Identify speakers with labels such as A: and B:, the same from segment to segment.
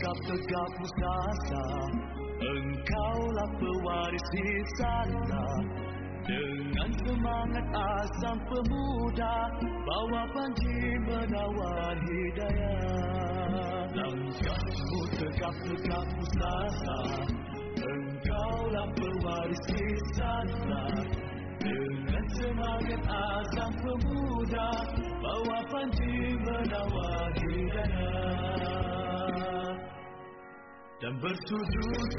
A: tegap-tegap musasa Engkaulah pewaris hisana Dengan semangat asam pemuda Bawa panji menawar hidayah Langkahmu tegap-tegap musasa Engkaulah pewaris hisana dengan semangat azam pemuda Bawa panji menawar hidayah Dan bersujud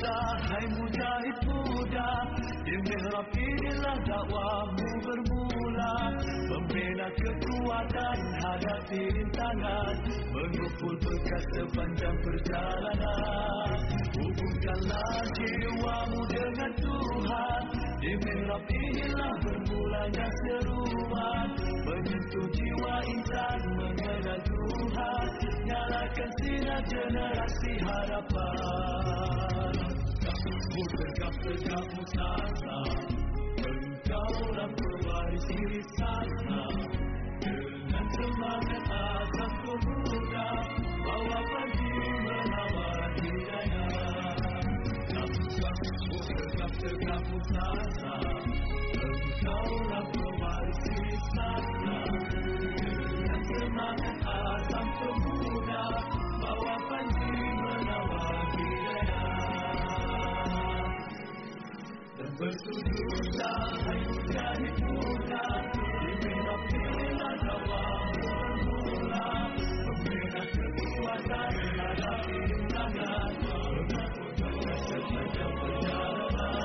A: hai mujahid muda Di mihrab inilah dakwamu bermula Membina kekuatan hadapi rintangan Mengumpul berkat sepanjang perjalanan Hubungkanlah jiwamu dengan Tuhan Di mihrab inilah bermulanya seruan Menyentuh jiwa insan mengenal Tuhan Nyalakan sinar generasi harapan Kamu tegap-tegap musasa Engkaulah pewaris diri sana Dengan semangat azab pemuda Bawa pagi menawar hidayah Kamu tegap-tegap musasa Engkaulah pewaris diri sana Dengan semangat azab pemuda Bawa panji menawar hidayah dan bersujudlah hai mujahid muda di mihrab inilah dawamu bermula membina kekuatan hadapi rintangan mengatur tugas sepanjang perjalanan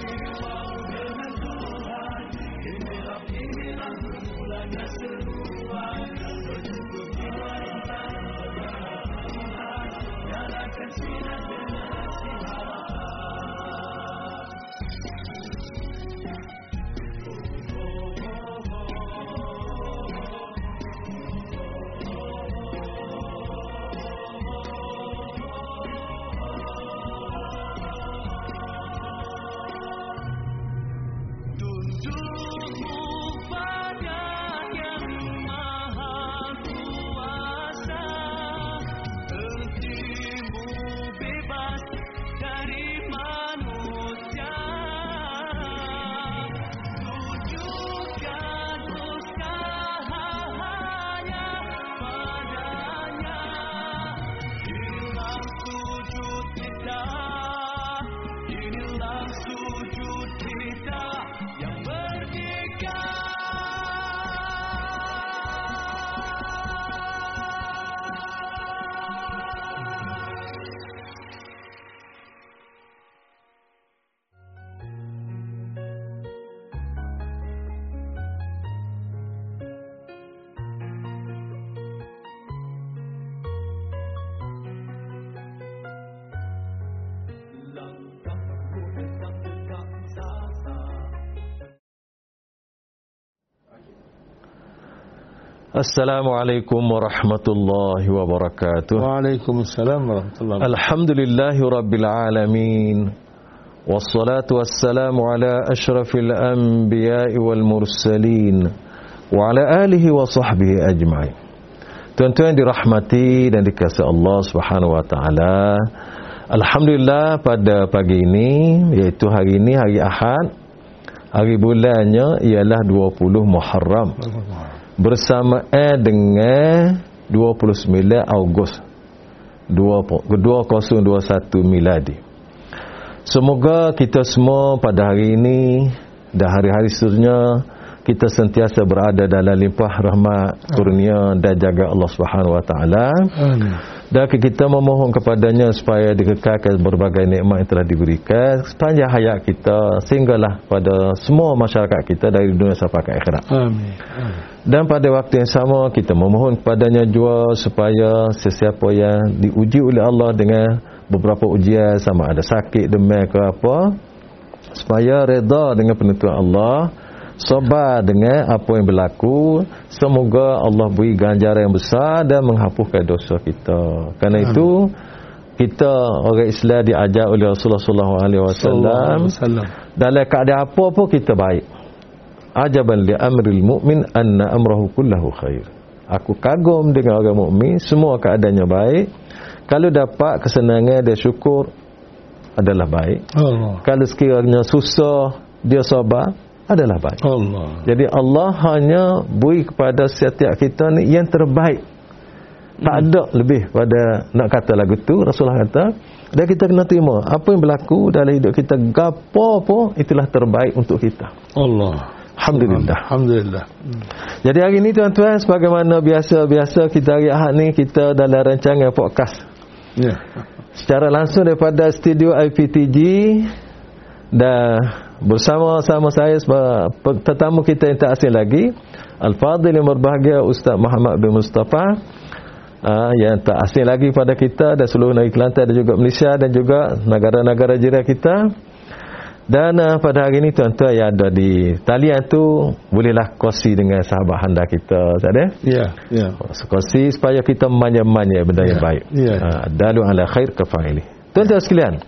A: Jalani mau dengan Tuhan di mihrab inilah bermulanya seruan berjumpa jiwa insan mengenal Tuhan nyalakan sinar generasi harapan Tundukmu pada yang maha kuasa Ertimu bebas dari manusia Tunjukkan usaha hanya padanya Inilah sujud kita Inilah sujud kita Yang merdeka Langkahku tegak-tegak sasa
B: Assalamualaikum warahmatullahi wabarakatuh.
C: Waalaikumsalam warahmatullahi wabarakatuh.
B: Alhamdulillahi rabbil alamin. Wassalatu wassalamu ala ashrafil anbiya'i wal mursalin wa ala alihi wa sahbihi ajma'in. Tuan-tuan dirahmati dan dikasihi Allah Subhanahu wa taala. Alhamdulillah pada pagi ini iaitu hari ini hari Ahad. Hari bulannya ialah 20 Muharram. bersamaan dengan 29 Ogos 2021 miladi. Semoga kita semua pada hari ini dan hari-hari seterusnya kita sentiasa berada dalam limpah rahmat kurnia dan jaga Allah Subhanahu Wa Taala.
C: Amin.
B: Dan kita memohon kepadanya supaya dikekalkan berbagai nikmat yang telah diberikan sepanjang hayat kita sehinggalah pada semua masyarakat kita dari dunia sampai ke akhirat.
C: Amin.
B: Dan pada waktu yang sama kita memohon kepadanya jua supaya sesiapa yang diuji oleh Allah dengan beberapa ujian sama ada sakit demam ke apa supaya reda dengan penentuan Allah sabar dengan apa yang berlaku semoga Allah beri ganjaran yang besar dan menghapuskan dosa kita kerana itu kita orang Islam diajar oleh Rasulullah sallallahu alaihi
C: Sallallahu
B: wasallam
C: alaihi wasallam.
B: dalam keadaan apa pun kita baik. Ajaban li amril mu'min anna amrahu kullahu khair. Aku kagum dengan orang mukmin, semua keadaannya baik. Kalau dapat kesenangan dia syukur adalah baik.
C: Allah.
B: Kalau sekiranya susah dia sabar adalah baik.
C: Allah.
B: Jadi Allah hanya beri kepada setiap kita ni yang terbaik. Tak ada lebih pada nak kata lagu tu Rasulullah kata dan kita kena terima apa yang berlaku dalam hidup kita gapo pun itulah terbaik untuk kita.
C: Allah.
B: Alhamdulillah.
C: Alhamdulillah.
B: Jadi hari ni tuan-tuan sebagaimana biasa-biasa kita hari Ahad ni kita dalam rancangan podcast
C: Ya.
B: secara langsung daripada studio IPTG dan bersama-sama saya seba- pe- tetamu kita yang tak asing lagi Al-Fadhil yang berbahagia Ustaz Muhammad bin Mustafa uh, yang tak asing lagi pada kita dan seluruh negeri Kelantan dan juga Malaysia dan juga negara-negara jiran kita dan uh, pada hari ini tuan-tuan yang ada di talian tu bolehlah kongsi dengan sahabat handa kita Ustaz eh?
C: Ya. Ya.
B: Sekongsi supaya kita manja-manja benda yang
C: Ya.
B: baik.
C: Ya.
B: Ha, dalu ala khair kafaili. Tuan-tuan sekalian.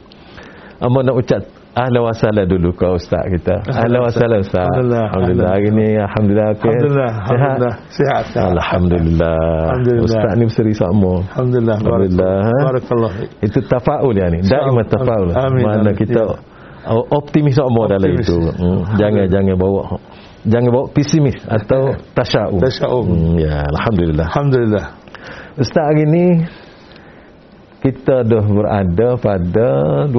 B: Amma nak ucap ahlan wa sahlan dulu ke ustaz kita. Ahlan wa sahlan ustaz.
C: Alhamdulillah.
B: Alhamdulillah. Hari ni alhamdulillah. okey.
C: Alhamdulillah.
B: Sihat?
C: Alhamdulillah. Sihat. sihat.
B: Alhamdulillah.
C: Alhamdulillah.
B: Ustaz ni berseri sama.
C: Alhamdulillah.
B: Alhamdulillah.
C: Barakallah.
B: Itu tafaul ya ni. Daima tafaul.
C: Amin.
B: Mana
C: Amin. Ya.
B: kita optimis sama dalam
C: Optimis.
B: itu. Hmm. Jangan jangan bawa jangan bawa pesimis atau tasya'um.
C: Eh. Tasya'um.
B: Hmm, ya, alhamdulillah.
C: Alhamdulillah.
B: Ustaz hari ni kita dah berada pada 20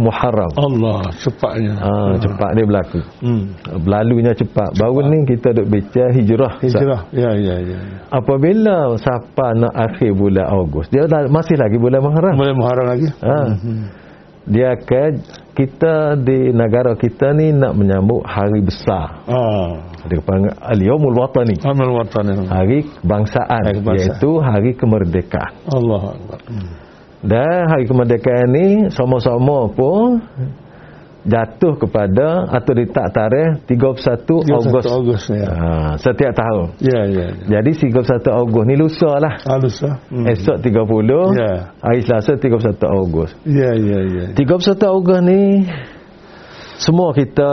B: Muharram.
C: Allah. Cepatnya.
B: Ah, cepat dia berlaku.
C: Hmm.
B: Berlalunya cepat. Baru ni kita duk bicara hijrah. Ustaz.
C: Hijrah. Ya, ya, ya. ya.
B: Apabila siapa nak akhir bulan Ogos, dia dah, masih lagi bulan Muharram.
C: Boleh Muharram lagi?
B: Ha.
C: Hmm.
B: Dia akan kita di negara kita ni nak menyambut hari besar.
C: Ah.
B: Dia panggil Al-Yaumul Watani.
C: Amal watan.
B: Hari kebangsaan,
C: Oh. Hari kebangsaan.
B: iaitu hari kemerdekaan.
C: Allah Akbar. Hmm.
B: Dan hari kemerdekaan ni sama-sama pun jatuh kepada atau ditak tarikh 31 Ogos.
C: 31 Ogos ya.
B: Ha, setiap tahun.
C: Ya, ya. ya.
B: Jadi 31 Ogos ni lusa lah.
C: Halus ah. Hmm.
B: Esok 30,
C: Ya.
B: hari Selasa 31 Ogos.
C: Ya, ya, ya.
B: 31 Ogos ni semua kita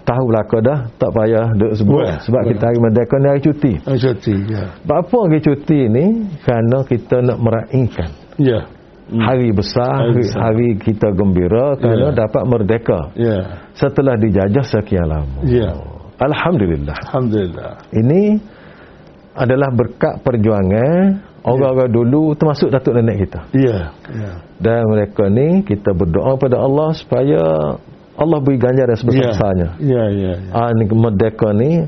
B: tahu berlaku dah. Tak payah duk sebut.
C: Boleh.
B: Sebab
C: Boleh.
B: kita hari merdeka ni hari cuti.
C: Ah, Cuti, ya.
B: Apa hari cuti ni? Kerana kita nak meraihkan
C: Ya.
B: hari besar,
C: Hari
B: hari,
C: besar.
B: hari kita gembira kerana
C: Ya.
B: dapat merdeka
C: Ya.
B: setelah dijajah sekian lama.
C: Ya.
B: Alhamdulillah.
C: Alhamdulillah.
B: Ini adalah berkat perjuangan orang-orang dulu termasuk datuk nenek kita.
C: Ya. Ya.
B: Dan mereka ni kita berdoa pada Allah supaya Allah beri ganjaran sebesar-besarnya.
C: Ya, ya, ya.
B: Ah ni merdeka ni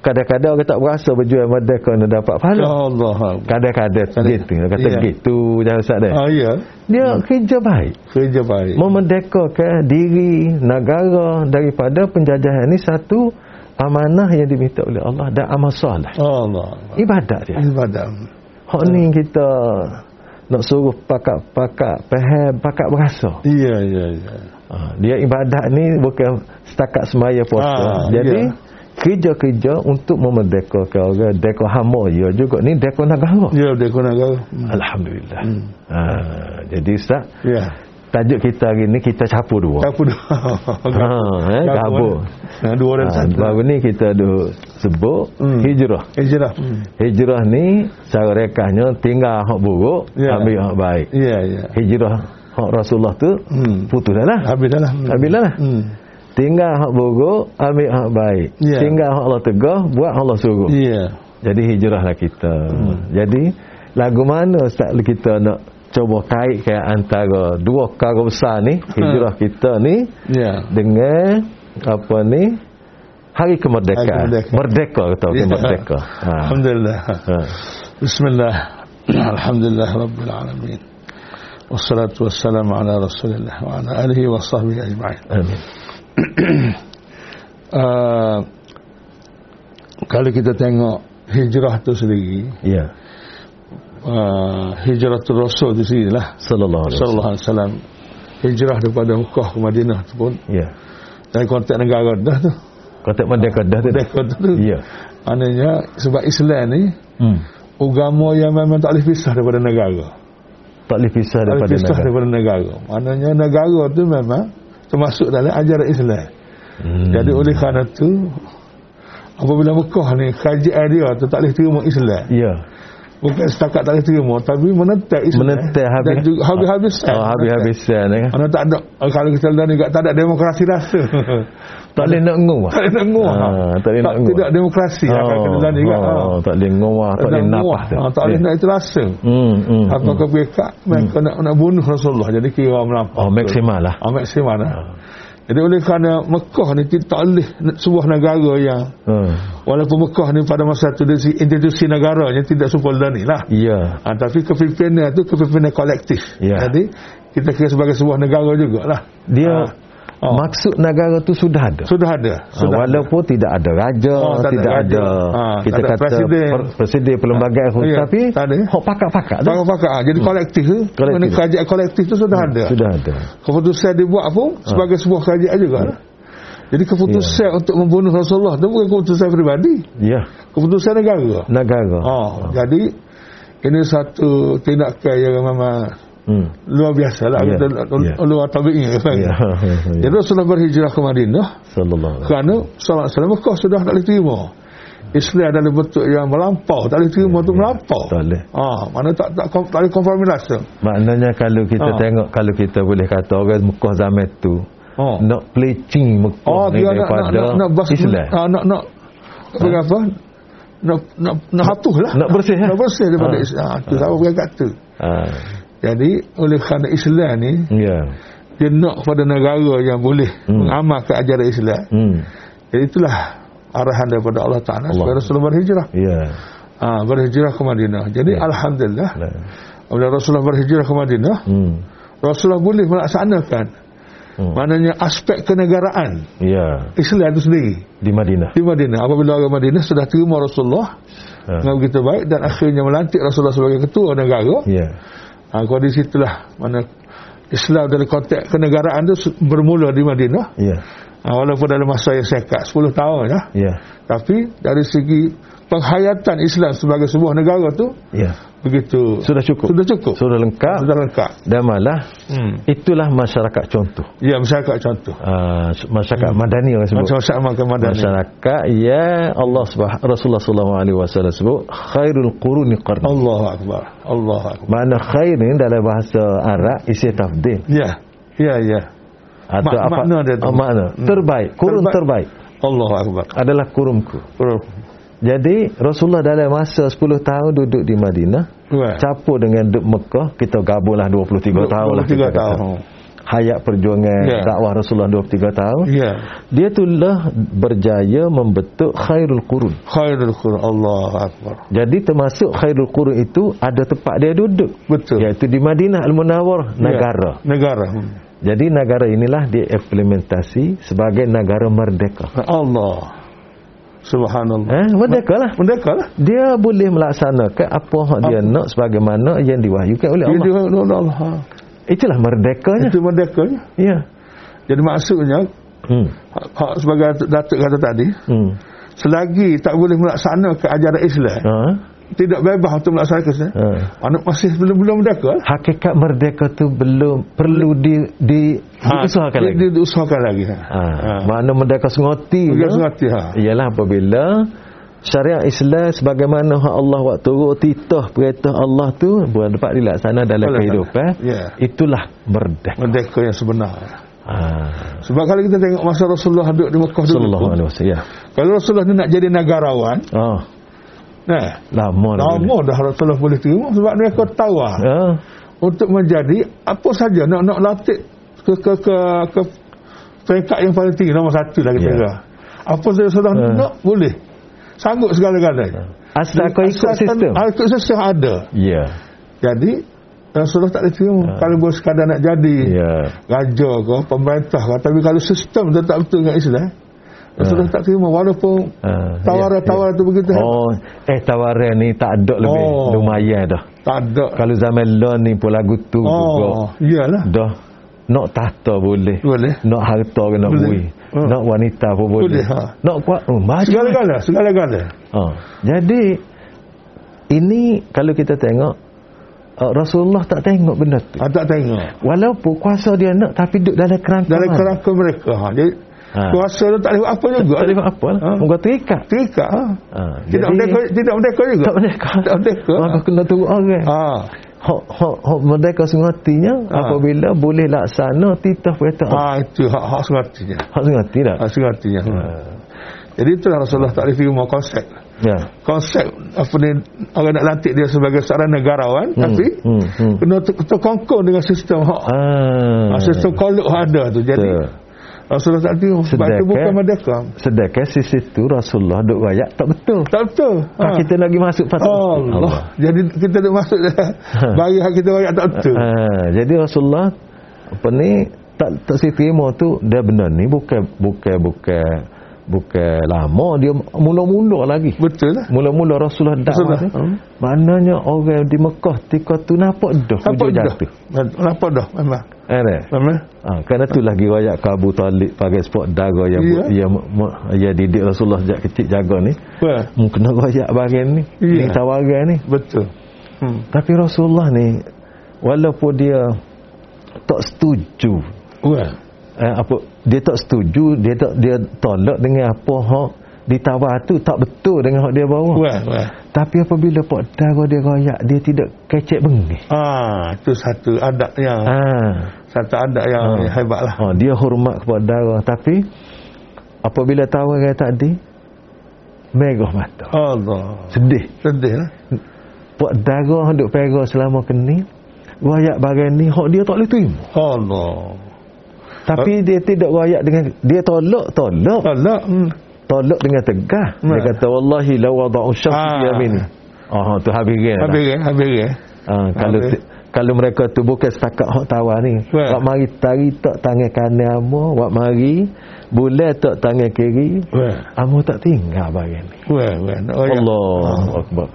B: kadang-kadang orang tak berasa berjuang merdeka ni dapat
C: Ya
B: pahala.
C: Allah. Akbar.
B: Kadang-kadang gitu. Dia Kata
C: Ya.
B: gitu jangan ustaz dia.
C: Ah, ya.
B: Dia kerja baik.
C: Kerja baik.
B: memerdekakan diri negara daripada penjajahan ini satu amanah yang diminta oleh Allah dan amal soleh.
C: Ya Allah. Akbar.
B: Ibadat dia.
C: Ibadah.
B: Hak ni kita nak suruh pakak-pakak faham, pakak berasa.
C: Ya, ya, ya.
B: Ha, dia ibadat ni bukan setakat semaya puasa.
C: Ah,
B: Jadi
C: ya.
B: kerja-kerja untuk memerdekakan orang deka hamba ya juga ni deka negara.
C: Ya, dia kena kau. Hmm.
B: Alhamdulillah.
C: Hmm.
B: Ha, jadi Ustaz,
C: Ya.
B: tajuk kita hari ni kita campur dua.
C: Tak pun.
B: Ha, eh, kabur.
C: Nah, dua orang
B: Ha,
C: satu.
B: baru ni kita duk sebut
C: Hmm.
B: hijrah.
C: Hijrah. Hmm.
B: Hijrah ni cara rekahnya tinggal hak buruk,
C: Ya.
B: ambil hak baik.
C: Ya, ya.
B: Hijrah hak Rasulullah tu
C: Hmm.
B: putus dah lah.
C: Habis dah lah. Hmm.
B: Habis dah lah.
C: Hmm.
B: Tinggal hak buruk, ambil hak baik.
C: Ya.
B: Tinggal hak Allah tegah, buat hak Allah suruh.
C: Ya. Hmm.
B: Jadi hijrahlah kita. Jadi lagu mana Ustaz kita nak cuba kaitkan antara dua perkara besar ni, hijrah
C: Hmm.
B: kita ni
C: Ya.
B: dengan apa ni hari kemerdekaan
C: Hari kemerdekaan.
B: merdeka kata orang
C: Ya.
B: merdeka ha.
C: Alhamdulillah.
B: ha.
C: بسم الله الحمد لله رب العالمين والصلاة والسلام على رسول الله وعلى آله وصحبه أجمعين
B: Amin.
C: uh, Kalau kita tengok hijrah itu sendiri
B: ya
C: uh, Hijrah tu Rasul itu sendiri lah
B: sallallahu alaihi wasallam
C: Sallallahu alaihi wasallam Hijrah daripada Mekah ke Madinah tu pun
B: ya
C: Dari konteks negara dah tu
B: kata merdeka dah tu
C: Dari konteks tu
B: ya
C: Maknanya sebab Islam ni
B: hmm.
C: Agama yang memang tak boleh pisah daripada negara
B: tak boleh pisah daripada
C: daripada pisah negara.
B: negara
C: daripada negara. Maknanya negara tu memang termasuk dalam ajaran Islam.
B: hmm.
C: Hmm. Jadi oleh kerana tu apabila Mekah ni kerajaan dia tu tak boleh terima Islam.
B: ya
C: bukan setakat tak terima tapi menetek isu
B: Menetek habis.
C: eh? dan juga habis-habisan
B: Oh, habis-habisan eh.
C: mana tak ada kalau kita dalam ni tak ada demokrasi rasa
B: Tak boleh nak ngum.
C: tak ada ngah
B: Ah, tak boleh nak ngah.
C: tidak demokrasi oh, akan kita dalam ni kan
B: oh, tak boleh ngah, tak boleh napah. tu.
C: ah.
B: Ya.
C: tak boleh nak terasa
B: Hmm, hmm.
C: apa
B: hmm.
C: ke mereka mereka nak, nak bunuh Rasulullah jadi kira melampau
B: Oh, maksimal lah.
C: ah, maksimal lah jadi oleh kerana Mekah ni ti- tak boleh sebuah negara yang
B: Hmm.
C: walaupun Mekah ni pada masa tu dia si- institusi negaranya tidak support dan ni lah
B: Ya.
C: ha, tapi kepimpinan tu kepimpinan kolektif
B: Ya.
C: jadi kita kira sebagai sebuah negara jugalah
B: Dia
C: Ah. Oh.
B: maksud negara tu sudah ada.
C: sudah ada sudah
B: Sudah walaupun ada. tidak ada raja,
C: Oh, tak ada
B: tidak
C: raja.
B: ada,
C: Ha,
B: kita
C: tak ada
B: kata
C: presiden.
B: presiden pelbagai
C: Ha, ya,
B: tapi
C: tak ada.
B: hok pakak-pakak tu.
C: Pakar-pakar ha, Jadi kolektif tu
B: Kolektif. Hmm,
C: Mana kerajaan kolektif tu sudah ada
B: Sudah Ha. ada.
C: Keputusan dibuat pun Sebagai sebuah kerajaan juga lah.
B: Ya.
C: Jadi keputusan untuk membunuh Rasulullah Itu bukan keputusan peribadi
B: Ya,
C: Keputusan negara
B: negara.
C: ha, Jadi Ini satu tindakan yang memang
B: Hmm.
C: Luar biasa lah
B: Ya,
C: yeah.
B: ya.
C: Luar tabi'i
B: Ya.
C: yeah. Kan? Jadi Rasulullah berhijrah ke Madinah
B: Sallallahu alaihi
C: Kerana Salat Salam Mekah sudah tak boleh terima Islam dalam bentuk yang melampau Tak boleh terima tu
B: ya.
C: melampau
B: Tak boleh.
C: ha, Mana tak, tak, tak, tak boleh konformi rasa
B: Maknanya kalau kita
C: Ah.
B: tengok kalau kita boleh kata orang Mekah zaman tu
C: Oh.
B: nak plecing Mekah
C: Oh,
B: ni
C: dia nak nak
B: daripada
C: nak nak bas
B: Islam.
C: Ah, nak nak ha? apa? Nak nak nak hatuh lah.
B: Nak bersih, eh?
C: Nak bersih daripada
B: Ha.
C: Islam. Ha, tu sama orang kata.
B: Ah.
C: Jadi oleh kerana Islam ni
B: Ya.
C: dia nak kepada negara yang boleh
B: Hmm.
C: mengamalkan ajaran Islam.
B: Hmm.
C: Jadi itulah arahan daripada Allah
B: Allah.
C: Taala supaya Rasulullah berhijrah.
B: Ya.
C: Ha, berhijrah ke Madinah. Jadi
B: Ya.
C: alhamdulillah
B: Nah.
C: bila Rasulullah berhijrah ke Madinah,
B: Hmm.
C: Rasulullah boleh melaksanakan
B: Hmm.
C: maknanya aspek kenegaraan
B: Ya,
C: Islam itu sendiri.
B: di Madinah.
C: di Madinah apabila orang Madinah sudah terima Rasulullah
B: Ha.
C: dengan begitu baik dan akhirnya melantik Rasulullah sebagai ketua negara
B: Ya.
C: ha, kondisi itulah mana Islam dalam konteks kenegaraan itu se- bermula di Madinah
B: Ya.
C: ha, walaupun dalam masa yang sekat 10 tahun ya
B: Ya.
C: tapi dari segi penghayatan Islam sebagai sebuah negara tu
B: Ya.
C: begitu
B: Sudah cukup.
C: sudah cukup
B: Sudah lengkap.
C: sudah lengkap
B: Dan malah
C: hmm.
B: itulah masyarakat contoh.
C: ya masyarakat contoh
B: Ah, masyarakat madani orang sebut.
C: Hmm. masyarakat makan madani
B: Masyarakat ya Allah subah Rasulullah sallallahu alaihi wasallam sebut khairul quruni qarni.
C: Allahu akbar Allahu akbar
B: Mana khair ni dalam bahasa Arab isi tafdil
C: ya ya ya
B: atau
C: Ma-
B: apa
C: makna dia tu.
B: oh, makna
C: Hmm.
B: terbaik kurun terbaik.
C: Terbaik. Allahu akbar
B: adalah kurunku. Jadi Rasulullah dalam masa 10 tahun duduk di Madinah
C: Right.
B: capur Eh. dengan duduk Mekah kita gabunglah 23 tahun lah kita
C: 23
B: kata.
C: tahun.
B: Hayat perjuangan
C: Ya.
B: dakwah Rasulullah 23 tahun.
C: Ya.
B: Dia itulah berjaya membentuk khairul qurun.
C: Khairul Quran Allah Akbar.
B: Jadi termasuk khairul qurun itu ada tempat dia duduk.
C: Betul.
B: Iaitu di Madinah Al-Munawwarah Ya, negara.
C: Ya. Negara. Hmm.
B: Jadi negara inilah diimplementasi sebagai negara merdeka.
C: Allah. Subhanallah.
B: Eh, merdeka lah.
C: Merdeka lah.
B: Dia boleh melaksanakan apa yang dia
C: Apa?
B: nak sebagaimana yang diwahyukan oleh
C: Dia
B: Ya Allah. Eh?
C: dia Allah. Allah. Ha.
B: Itulah merdekanya.
C: Itu merdekanya.
B: Ya.
C: Jadi maksudnya
B: Hmm.
C: hak, hak sebagai Datuk kata tadi,
B: Hmm.
C: selagi tak boleh melaksanakan ajaran Islam,
B: Ha?
C: tidak bebas untuk melaksanakan Islam.
B: Ha.
C: Anak masih belum belum merdeka. lah.
B: Hakikat merdeka tu belum perlu di di Ha, diusahakan
C: dia,
B: lagi.
C: Dia diusahakan lagi. Ha.
B: Ha. ya. Mana merdeka sengoti.
C: Merdeka
B: tu,
C: sengoti, ha.
B: Ialah apabila syariat Islam sebagaimana hak Allah buat turut titah perintah Allah tu boleh dapat dilaksana dalam
C: Boleh,
B: kehidupan.
C: ya.
B: Itulah merdeka.
C: Merdeka yang sebenar.
B: Ha.
C: Sebab kalau kita tengok masa Rasulullah duduk di Mekah dulu.
B: Sallallahu
C: pun,
B: alaihi wasallam. Ya.
C: Kalau Rasulullah ni nak jadi negarawan,
B: Oh,
C: nah,
B: lama dah.
C: Lama dah Rasulullah boleh terima sebab mereka tahu lah.
B: Ha.
C: Untuk menjadi apa saja nak nak latih ke ke ke, ke peringkat yang paling tinggi nomor satu lah kita
B: Ya.
C: kata. Apa saja sudah
B: Ha.
C: nak boleh. Sanggup segala-galanya.
B: Asal kau Ya. ikut
C: Asalkan-
B: sistem.
C: ah, Ikut sistem ada.
B: Ya.
C: Jadi Rasulullah tak boleh terima kalau boleh sekadar nak jadi
B: Ya.
C: raja ke pemerintah ke tapi kalau sistem dia tak betul dengan Islam Rasulullah tak terima walaupun
B: Ha, ya,
C: tawaran-tawaran tu begitu
B: ya. Oh, eh tawaran ni tak ada lebih.
C: Oh.
B: Lumayan dah.
C: tak ada
B: Kalau zaman lon ni pun lagu tu juga.
C: oh iyalah
B: Dah. Nak tahta boleh.
C: boleh
B: Nak harta ke nak
C: Boleh.
B: bui.
C: Hmm.
B: Nak wanita pun boleh.
C: Boleh, ha.
B: Nak kuat oh, macam mana?
C: Segala-gala, segala-gala.
B: Ha. Jadi ini kalau kita tengok uh, Rasulullah tak tengok benda tu.
C: Ha, tak tengok.
B: Walaupun kuasa dia nak tapi duduk dalam kerangka.
C: Dalam
B: mana?
C: kerangka mereka. Ha. Jadi,
B: Ha.
C: Kau rasa dia tak boleh buat apa juga.
B: Tak ada apa lah.
C: Ha.
B: Bukan terikat.
C: Terikat. Ha.
B: Ha.
C: Tidak merdeka, tidak merdeka juga.
B: Tak merdeka.
C: Tak merdeka.
B: Maka kena tunggu orang.
C: Ha.
B: Hak hak hak merdeka sengatinya
C: Ha.
B: apabila boleh laksana titah perintah.
C: Ha, itu hak, hak sengatinya.
B: Hak sengati tak?
C: Hak sengatinya.
B: Ha.
C: Ha. Jadi itulah Rasulullah tak boleh terima konsep.
B: Ya.
C: Konsep apa ni orang nak lantik dia sebagai seorang negarawan
B: Hmm,
C: tapi
B: hmm, hmm.
C: kena ter- terkongkong dengan sistem hak
B: Ah.
C: Ha, sistem kolok ada tu. Jadi
B: Betul. eh?
C: Rasulullah tak terima. Sebab
B: Sedekah.
C: itu bukan merdeka.
B: Sedangkan sisi tu Rasulullah duk rakyat tak betul.
C: Tak betul.
B: Ha. Kita lagi masuk pasal
C: Allah. Allah. Jadi kita duk masuk dalam bagi hak kita rakyat tak betul.
B: Ha, jadi Rasulullah apa ni tak tak si terima tu dia benda ni bukan bukan bukan bukan lama dia mula-mula lagi.
C: Betul lah.
B: Mula-mula Rasulullah dakwah
C: Rasulullah,
B: ni.
C: hmm.
B: Maknanya orang di Mekah tika tu nampak dah hujung
C: Nampak dah.
B: jatuh.
C: Nampak dah memang.
B: Eh, eh.
C: Memang.
B: Ha, kerana tu lagi rakyat ke Abu Talib pakai sport daga yang
C: Ya.
B: yeah. yang, yang, yang didik Rasulullah sejak kecil jaga ni.
C: Well,
B: Hmm, kena royak barang ni.
C: Ya.
B: Ni tawaran ni.
C: betul. Hmm.
B: Tapi Rasulullah ni walaupun dia tak setuju
C: Well.
B: eh, apa dia tak setuju dia tak dia tolak dengan apa hak ditawar tu tak betul dengan hak dia bawa.
C: Well, well.
B: Tapi apabila pak dago dia royak dia tidak kecek bengih.
C: Ah, itu satu adat yang
B: Ha.
C: satu adat yang
B: Ah.
C: hebat lah.
B: ha. dia hormat kepada dago tapi apabila tawaran tadi merah mata.
C: Allah.
B: Sedih.
C: Sedih lah.
B: Pak darah duk perah selama kini Wayak barang ni Hak dia tak boleh terima
C: Allah.
B: Tapi dia tidak wayak dengan Dia tolak Tolak
C: Allah. Hmm.
B: Tolak dengan tegah Dia
C: Nah.
B: kata Wallahi la wada'u
C: Ah.
B: syafi yamin Oh tu habis dia lah.
C: Habis ke? Habis ke?
B: Ah, Kalau
C: Habis.
B: ti- kalau mereka tu bukan setakat hak tawar ni
C: Wah.
B: Wak mari tari tak tangan kanan amu Wak mari Bulan tak tangan kiri
C: Well.
B: Amu tak tinggal barang ni
C: Well, well. Oh, ya.
B: Allah Akbar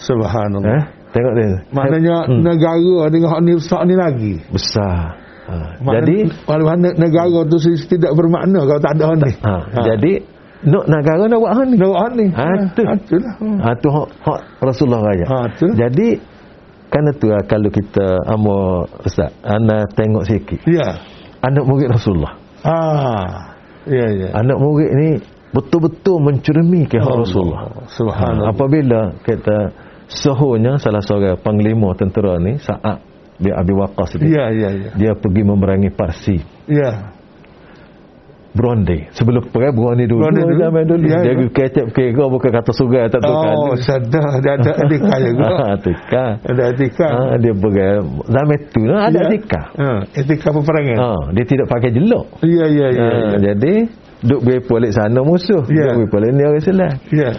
C: Subhanallah.
B: eh? Tengok dia
C: Maknanya hmm. negara dengan hak ni besar ni lagi.
B: Besar Ah, Jadi
C: Maknanya, Jadi mana negara tu se- tidak bermakna kalau tak ada hak ni.
B: Ha, ha. Jadi nak negara nak buat hang ni.
C: nak buat hak ni.
B: Ha, tu.
C: Ha, tu lah. Hmm.
B: Ha tu hak, hak Rasulullah raja.
C: Ha, tu.
B: Jadi kerana tu lah, kalau kita amo ustaz, ana tengok sikit.
C: Ya.
B: Anak murid Rasulullah.
C: Ah. Ya ya.
B: Anak murid ni betul-betul mencermi ke hak
C: Allah.
B: Rasulullah.
C: Subhanallah.
B: Ha, apabila kita sahurnya salah seorang panglima tentera ni Sa'ad bin Abi Waqqas ni.
C: Ya ya ya.
B: Dia pergi memerangi Parsi.
C: Ya.
B: Bronding sebelum perang Bronding dulu
C: Bronding dulu.
B: zaman dulu
C: Ya,
B: dia
C: ya.
B: kecap kira bukan kata surai tak tahu
C: Oh, sadar dia ada etika juga.
B: ha, tika.
C: Ada etika.
B: Ha, dia pergi zaman tu nah, ada
C: Ya.
B: tika.
C: Ha, etika peperangan.
B: Ha, dia tidak pakai jelok.
C: Ya ya ya.
B: Ha,
C: ya.
B: jadi duk berapa balik sana musuh.
C: Ya.
B: Duk berapa balik ni orang Islam.
C: Ya.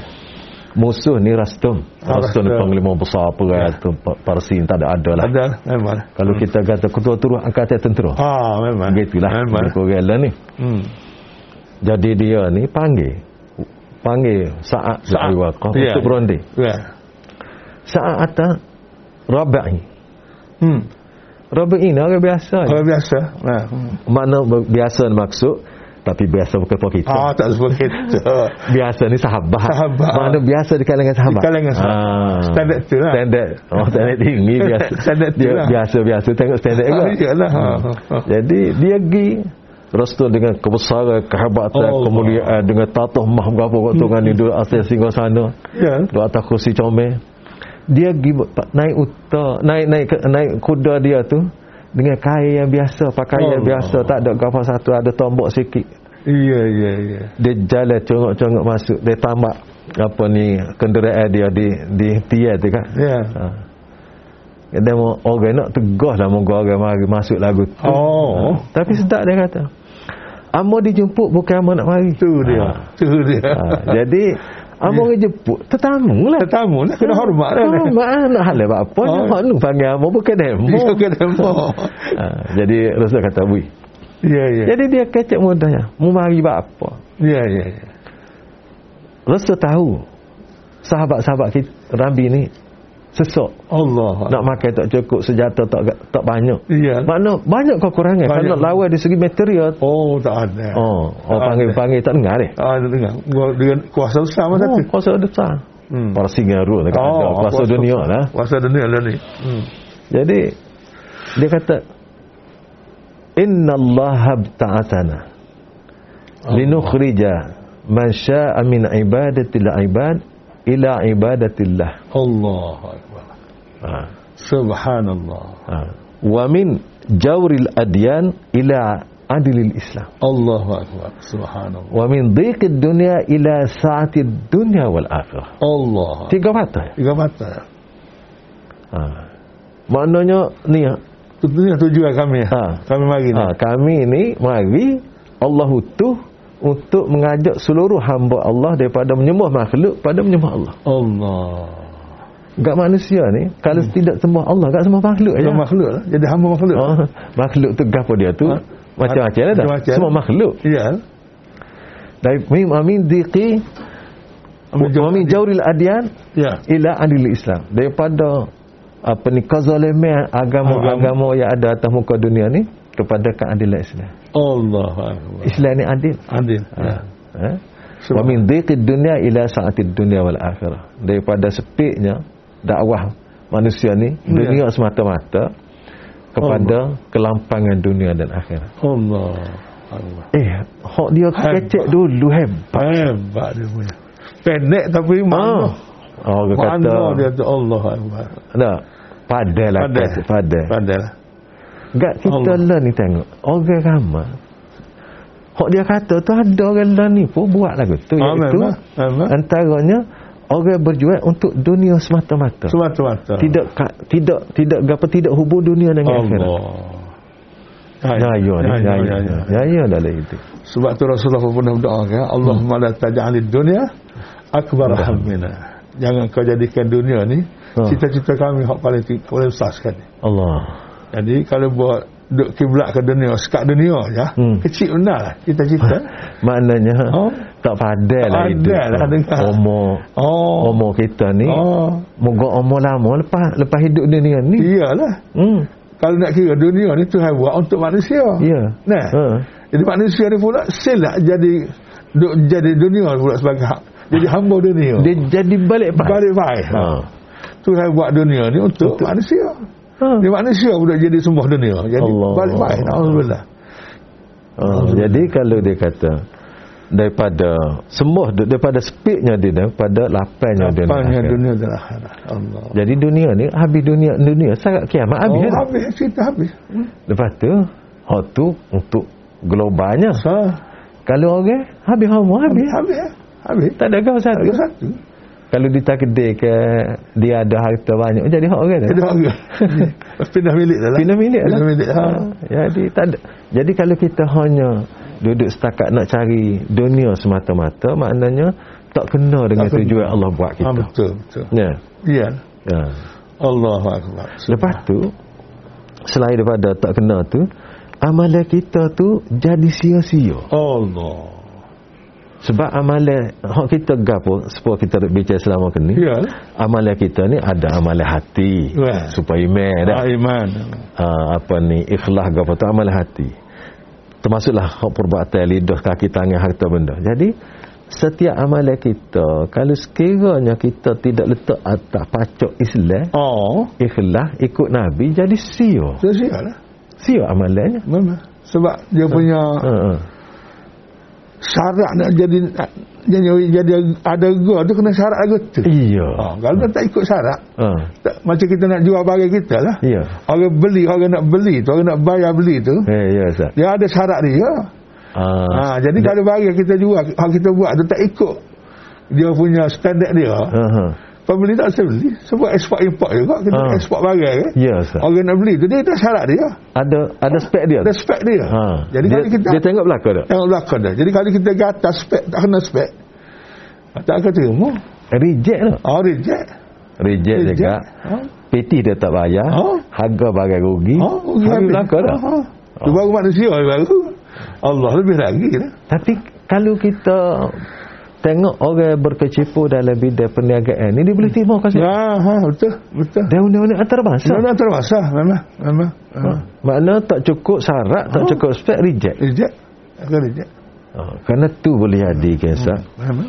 B: Musuh ni Rastum.
C: Ah,
B: Rastum ni
C: Rastum.
B: panglima besar apa ya. tu Pa- Parsi ni tak ada ada lah.
C: Ada Hmm. memang.
B: Kalau kita kata ketua turun angkatan tentera.
C: Ha, memang.
B: Begitulah.
C: Memang.
B: Korang lah ni.
C: Hmm.
B: Jadi dia ni panggil panggil Sa'ad bin
C: Sa'ad.
B: Abi Waqqas
C: Ya.
B: untuk berunding.
C: Ya.
B: Sa'ad kata Rabi'i.
C: Hmm.
B: Rabi'i ni orang biasa. je.
C: Orang biasa. Ha. Hmm.
B: Makna ber- biasa ni maksud tapi biasa bukan apa kita.
C: Ah, tak seperti itu.
B: Biasa ni sahabat.
C: Sahabat.
B: Makna biasa di kalangan sahabat. Ah.
C: Di kalangan sahabat. Standard tu lah.
B: Standard. Oh, standard tinggi biasa.
C: Standard tu
B: dia
C: lah.
B: biasa-biasa tengok standard juga.
C: Ah, iyalah. Ha, ha, ha.
B: Jadi dia pergi Rasul dengan kebesaran, kehebatan,
C: Oh, Allah. Hmm.
B: kemuliaan dengan tatuh mah berapa waktu kan dia duduk atas singgah sana.
C: Ya.
B: Duduk atas kursi comel. Dia pergi naik uta, naik naik naik kuda dia tu dengan kain yang biasa, pakaian yang
C: Allah.
B: biasa, tak ada gapa satu, ada tombok sikit.
C: Ya, ya, ya.
B: Dia jalan congok-congok masuk, dia tambak apa ni kenderaan dia di di tiar tu kan.
C: Ya.
B: Ha. Dia mau orang nak tegas lah mau orang mari masuk lagu tu. Ha.
C: Oh.
B: Tapi sedap dia kata. Amo dijemput bukan amo nak mari.
C: Tu dia.
B: Ha.
C: Tu dia.
B: Ha. Jadi amo yeah. jemput tetamu lah.
C: Tetamu lah kena hormat lah.
B: Tetamu ah, nak hal apa apa
C: Oh.
B: oh. nak panggil amo bukan demo.
C: Itu kena mau.
B: ha. Jadi Rasul kata bui.
C: Ya, ya.
B: Jadi dia kecek mudahnya. Mu mari buat apa?
C: Ya, ya, ya.
B: Rasul tahu sahabat-sahabat kita Rambi ni sesak
C: Allah.
B: nak makan tak cukup senjata tak tak banyak
C: Ya.
B: Makna banyak kekurangan kalau
C: Banyak.
B: lawan dari segi material
C: Oh, Ah, tak ada.
B: oh oh
C: Tak
B: panggil
C: ada.
B: panggil tak dengar deh
C: Ah, dia dengar. Gua- Dengan kuasa besar masa
B: oh,
C: tu.
B: kuasa besar
C: Hmm.
B: para singaru dekat ada kuasa dunia
C: besar.
B: lah
C: Kuasa dunia lah ni. Hmm.
B: jadi dia kata inna Allah bta'atana linukhrija man syaa'a min ibadatil ibad ila ibadatillah.
C: Allahu Akbar.
B: Ha.
C: Ah, Subhanallah.
B: Ha. Wa min jawril adyan ila adilil Islam.
C: Allahu Akbar. Subhanallah.
B: Wa min dhiqid dunya ila sa'atid dunya wal akhirah.
C: Allah.
B: Tiga patah. ya?
C: Tiga mata.
B: Ha. Maknanya ni ya.
C: Tentunya tujuan kami.
B: Ha.
C: Kami mari ni.
B: Ha, kami ni mari Allah utuh untuk mengajak seluruh hamba Allah daripada menyembah makhluk pada menyembah Allah.
C: Allah.
B: Gak manusia ni kalau tidak sembah Allah gak sembah makhluk
C: Ya.
B: aja.
C: makhluk lah. Jadi hamba makhluk.
B: Oh, makhluk tu gapo dia tu?
C: Ha?
B: Macam-macam lah
C: Macam-macam.
B: tak? Semua makhluk.
C: Ya.
B: Dari mim amin diqi amin jauril adyan
C: Ya.
B: ila adil Islam. Daripada apa ni kezaliman agama-agama yang ada atas muka dunia ni kepada keadilan Islam.
C: Allahu Akbar.
B: Islam ni adil.
C: Adil. Ya.
B: Ha. Ha? Wa
C: Sebab-
B: min dhiqid dunya ila sa'atid dunya wal akhirah. Daripada sepiknya dakwah manusia ni
C: Ya.
B: dunia semata-mata kepada kelampangan dunia dan akhirat.
C: Allah. Allah.
B: Eh, hak dia
C: Hebat.
B: kecek dulu hem.
C: Hebat dia punya. Pendek tapi makna.
B: Ah. Oh, dia kata.
C: Makna dia tu Allah Akbar.
B: Nah, padai lah
C: Padai.
B: kecek padai.
C: Pandai lah.
B: Gak kita
C: Allah.
B: lah ni tengok. Orang ramai. Hak dia kata tu ada orang lah ni pun buat lagu tu.
C: Ah,
B: iaitu
C: memang, memang.
B: antaranya orang berjuang untuk dunia semata-mata.
C: Semata-mata.
B: tidak ka- tidak tidak apa tidak hubung dunia dengan akhirat.
C: Allah.
B: Ya ya ni, ya ya. Ya ya dah lah itu.
C: Sebab tu Rasulullah pun pernah berdoa kan,
B: Hmm.
C: Allahumma la taj'alid dunya akbar hammina. Jangan kau jadikan dunia ni
B: Ha.
C: cita-cita kami hak paling ti- paling besar sekali.
B: Allah.
C: Jadi kalau buat duk kiblat ke dunia, sekat dunia je,
B: Hmm.
C: kecil benar lah cita-cita.
B: Maknanya
C: Oh.
B: tak padai lah
C: Tak
B: itu.
C: pandai lah dengar.
B: Umur
C: oh.
B: umur kita ni
C: Oh.
B: moga umur lama lepas lepas hidup dunia ni.
C: Iyalah.
B: Hmm.
C: Kalau nak kira dunia ni Tuhan buat untuk manusia.
B: Ya.
C: Oh. Nah.
B: Ha.
C: Jadi manusia ni pula silap jadi duk jadi dunia pula sebagai hak. Jadi hamba dunia.
B: Dia jadi balik pak.
C: balik baik.
B: Ha.
C: Tuhan buat dunia ni untuk, untuk manusia.
B: Ha.
C: Dia manusia pula jadi sembah dunia. Jadi
B: Allah.
C: balik baik. Alhamdulillah.
B: Ha. Jadi kalau dia kata daripada sembuh daripada sepiknya dia daripada lapangnya dia
C: Apanya dunia dan akhirat. Allah.
B: jadi dunia ni habis dunia dunia sangat kiamat habis
C: oh,
B: dah.
C: habis. Cerita habis.
B: Lepas tu, hak tu untuk globalnya.
C: Ha.
B: Kalau orang eh, habis homo
C: Habis.
B: habis.
C: Habis. eh. Habis.
B: Tak ada kau satu.
C: Ada satu.
B: Ya. Kalau ditakdir ke dia ada harta banyak jadi hak orang eh.
C: Ada
B: dah.
C: orang. Pindah milik dah lah.
B: Pindah milik lah.
C: Pindah milik. Ha.
B: Jadi tak ada. Jadi kalau kita hanya duduk setakat nak cari dunia semata-mata, maknanya tak kena dengan
C: kena.
B: tujuan Allah buat
C: ha.
B: kita.
C: Betul. Betul.
B: Ya.
C: Ya.
B: Ya.
C: Allahu Akbar.
B: Lepas tu selain daripada tak kena tu, amalan kita tu jadi sia-sia.
C: Allah.
B: Sebab amalan hak kita gapo sebab kita bicara selama ni.
C: Ya.
B: Amalan kita ni ada amalan hati.
C: Wah.
B: Supaya iman dah.
C: Ha, iman.
B: Ah, apa ni ikhlas gapo tu amalan hati. Termasuklah hak perbuatan lidah, kaki, tangan, harta benda. Jadi setiap amalan kita kalau sekiranya kita tidak letak atas pacok Islam,
C: Oh.
B: ikhlas ikut Nabi jadi sia.
C: Saya siap lah.
B: Sia amalannya.
C: Memang. Sebab dia punya
B: Ha. ha.
C: syarat nak jadi nak- jadi, jadi ada gua tu kena syarat lagu tu.
B: Iya.
C: Ha, kalau dia tak ikut syarat,
B: Ha.
C: tak, macam kita nak jual barang kita lah.
B: Iya.
C: Orang beli, orang nak beli tu, orang nak bayar beli tu,
B: Eh, ya, Ustaz.
C: dia ada syarat dia.
B: Ah.
C: Ha, jadi kalau barang kita jual, hak kita buat tu tak ikut dia punya standard dia.
B: Ha. ha.
C: Pembeli tak boleh beli. Sebab ekspor import juga, kita
B: Ha.
C: ekspor barang kan.
B: Ya, Ustaz.
C: Orang nak beli tu, dia ada syarat dia.
B: Ada ada spek dia.
C: Ada spek dia.
B: Ha.
C: Jadi
B: dia,
C: kalau kita
B: dia tengok belakang tak?
C: Tengok belakang dah. Jadi kalau kita ke atas spek, tak kena spek. Tak akan terima.
B: Reject tak?
C: Oh, reject.
B: Reject,
C: Reject.
B: juga.
C: Ha?
B: PT dia tak bayar.
C: Oh.
B: Harga bagai rugi.
C: Oh, rugi
B: Habis
C: habis.
B: belakang dah.
C: Ha, ha. Tu baru manusia yang baru. Allah lebih lagi dah.
B: Tapi kalau kita tengok orang berkecimpung dalam bidang perniagaan ni dia boleh terima kasih.
C: Ha, ha, betul, betul.
B: Dia undang-undang antarabangsa.
C: Mana terpaksa, memang, memang.
B: Ha.
C: memang.
B: Makna tak cukup syarat, tak
C: Oh.
B: cukup spek reject.
C: Reject. Akan reject.
B: Ha. Kerana tu boleh jadi kan Ustaz.
C: Memang.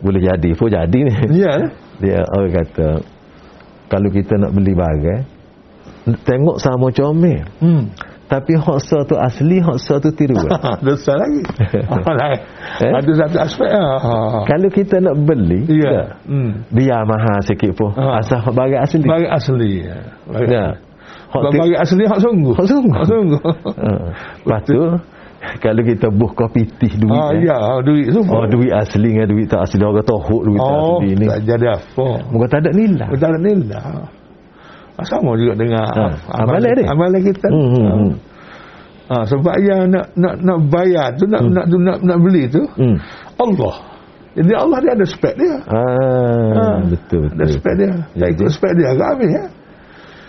B: Boleh jadi pun jadi ni.
C: Ya, lah.
B: Dia orang kata kalau kita nak beli barang tengok sama comel.
C: Hmm.
B: Tapi hak sah tu asli, hak sah tu tiruan.
C: Dosa lagi. Ah, lain.
B: Eh? Kan?
C: Ada satu aspek. ah.
B: Kalau kita nak beli,
C: Ya.
B: dah.
C: Hmm.
B: biar mahal sikit pun.
C: Ha.
B: Asal hak barang asli.
C: Bagi asli. ya. Bagi
B: Dah. Hak
C: Kalau
B: ti-
C: bagi asli hak sungguh.
B: Hak sungguh.
C: Hak sungguh.
B: Ha. Lepas tu, kalau kita buh kopi tih duit.
C: Ah
B: eh.
C: ya, duit
B: Oh,
C: sungguh.
B: duit asli dengan duit tak asli. Orang kata hok duit tak
C: Oh,
B: asli ni. Ya.
C: tak jadi apa.
B: Muka tak ada nilai.
C: Betul ni lah. Sama juga dengan
B: Ha, amalan dia.
C: Amalan kita.
B: Hmm, hmm, hmm.
C: Ha, sebab yang nak nak nak bayar tu nak nak tu, nak nak beli tu
B: Hmm.
C: Allah. Jadi Allah dia ada spek dia.
B: Ah, betul
C: Ada
B: betul.
C: spek dia. Tak
B: Jadi-
C: ikut spek dia ke habis ya.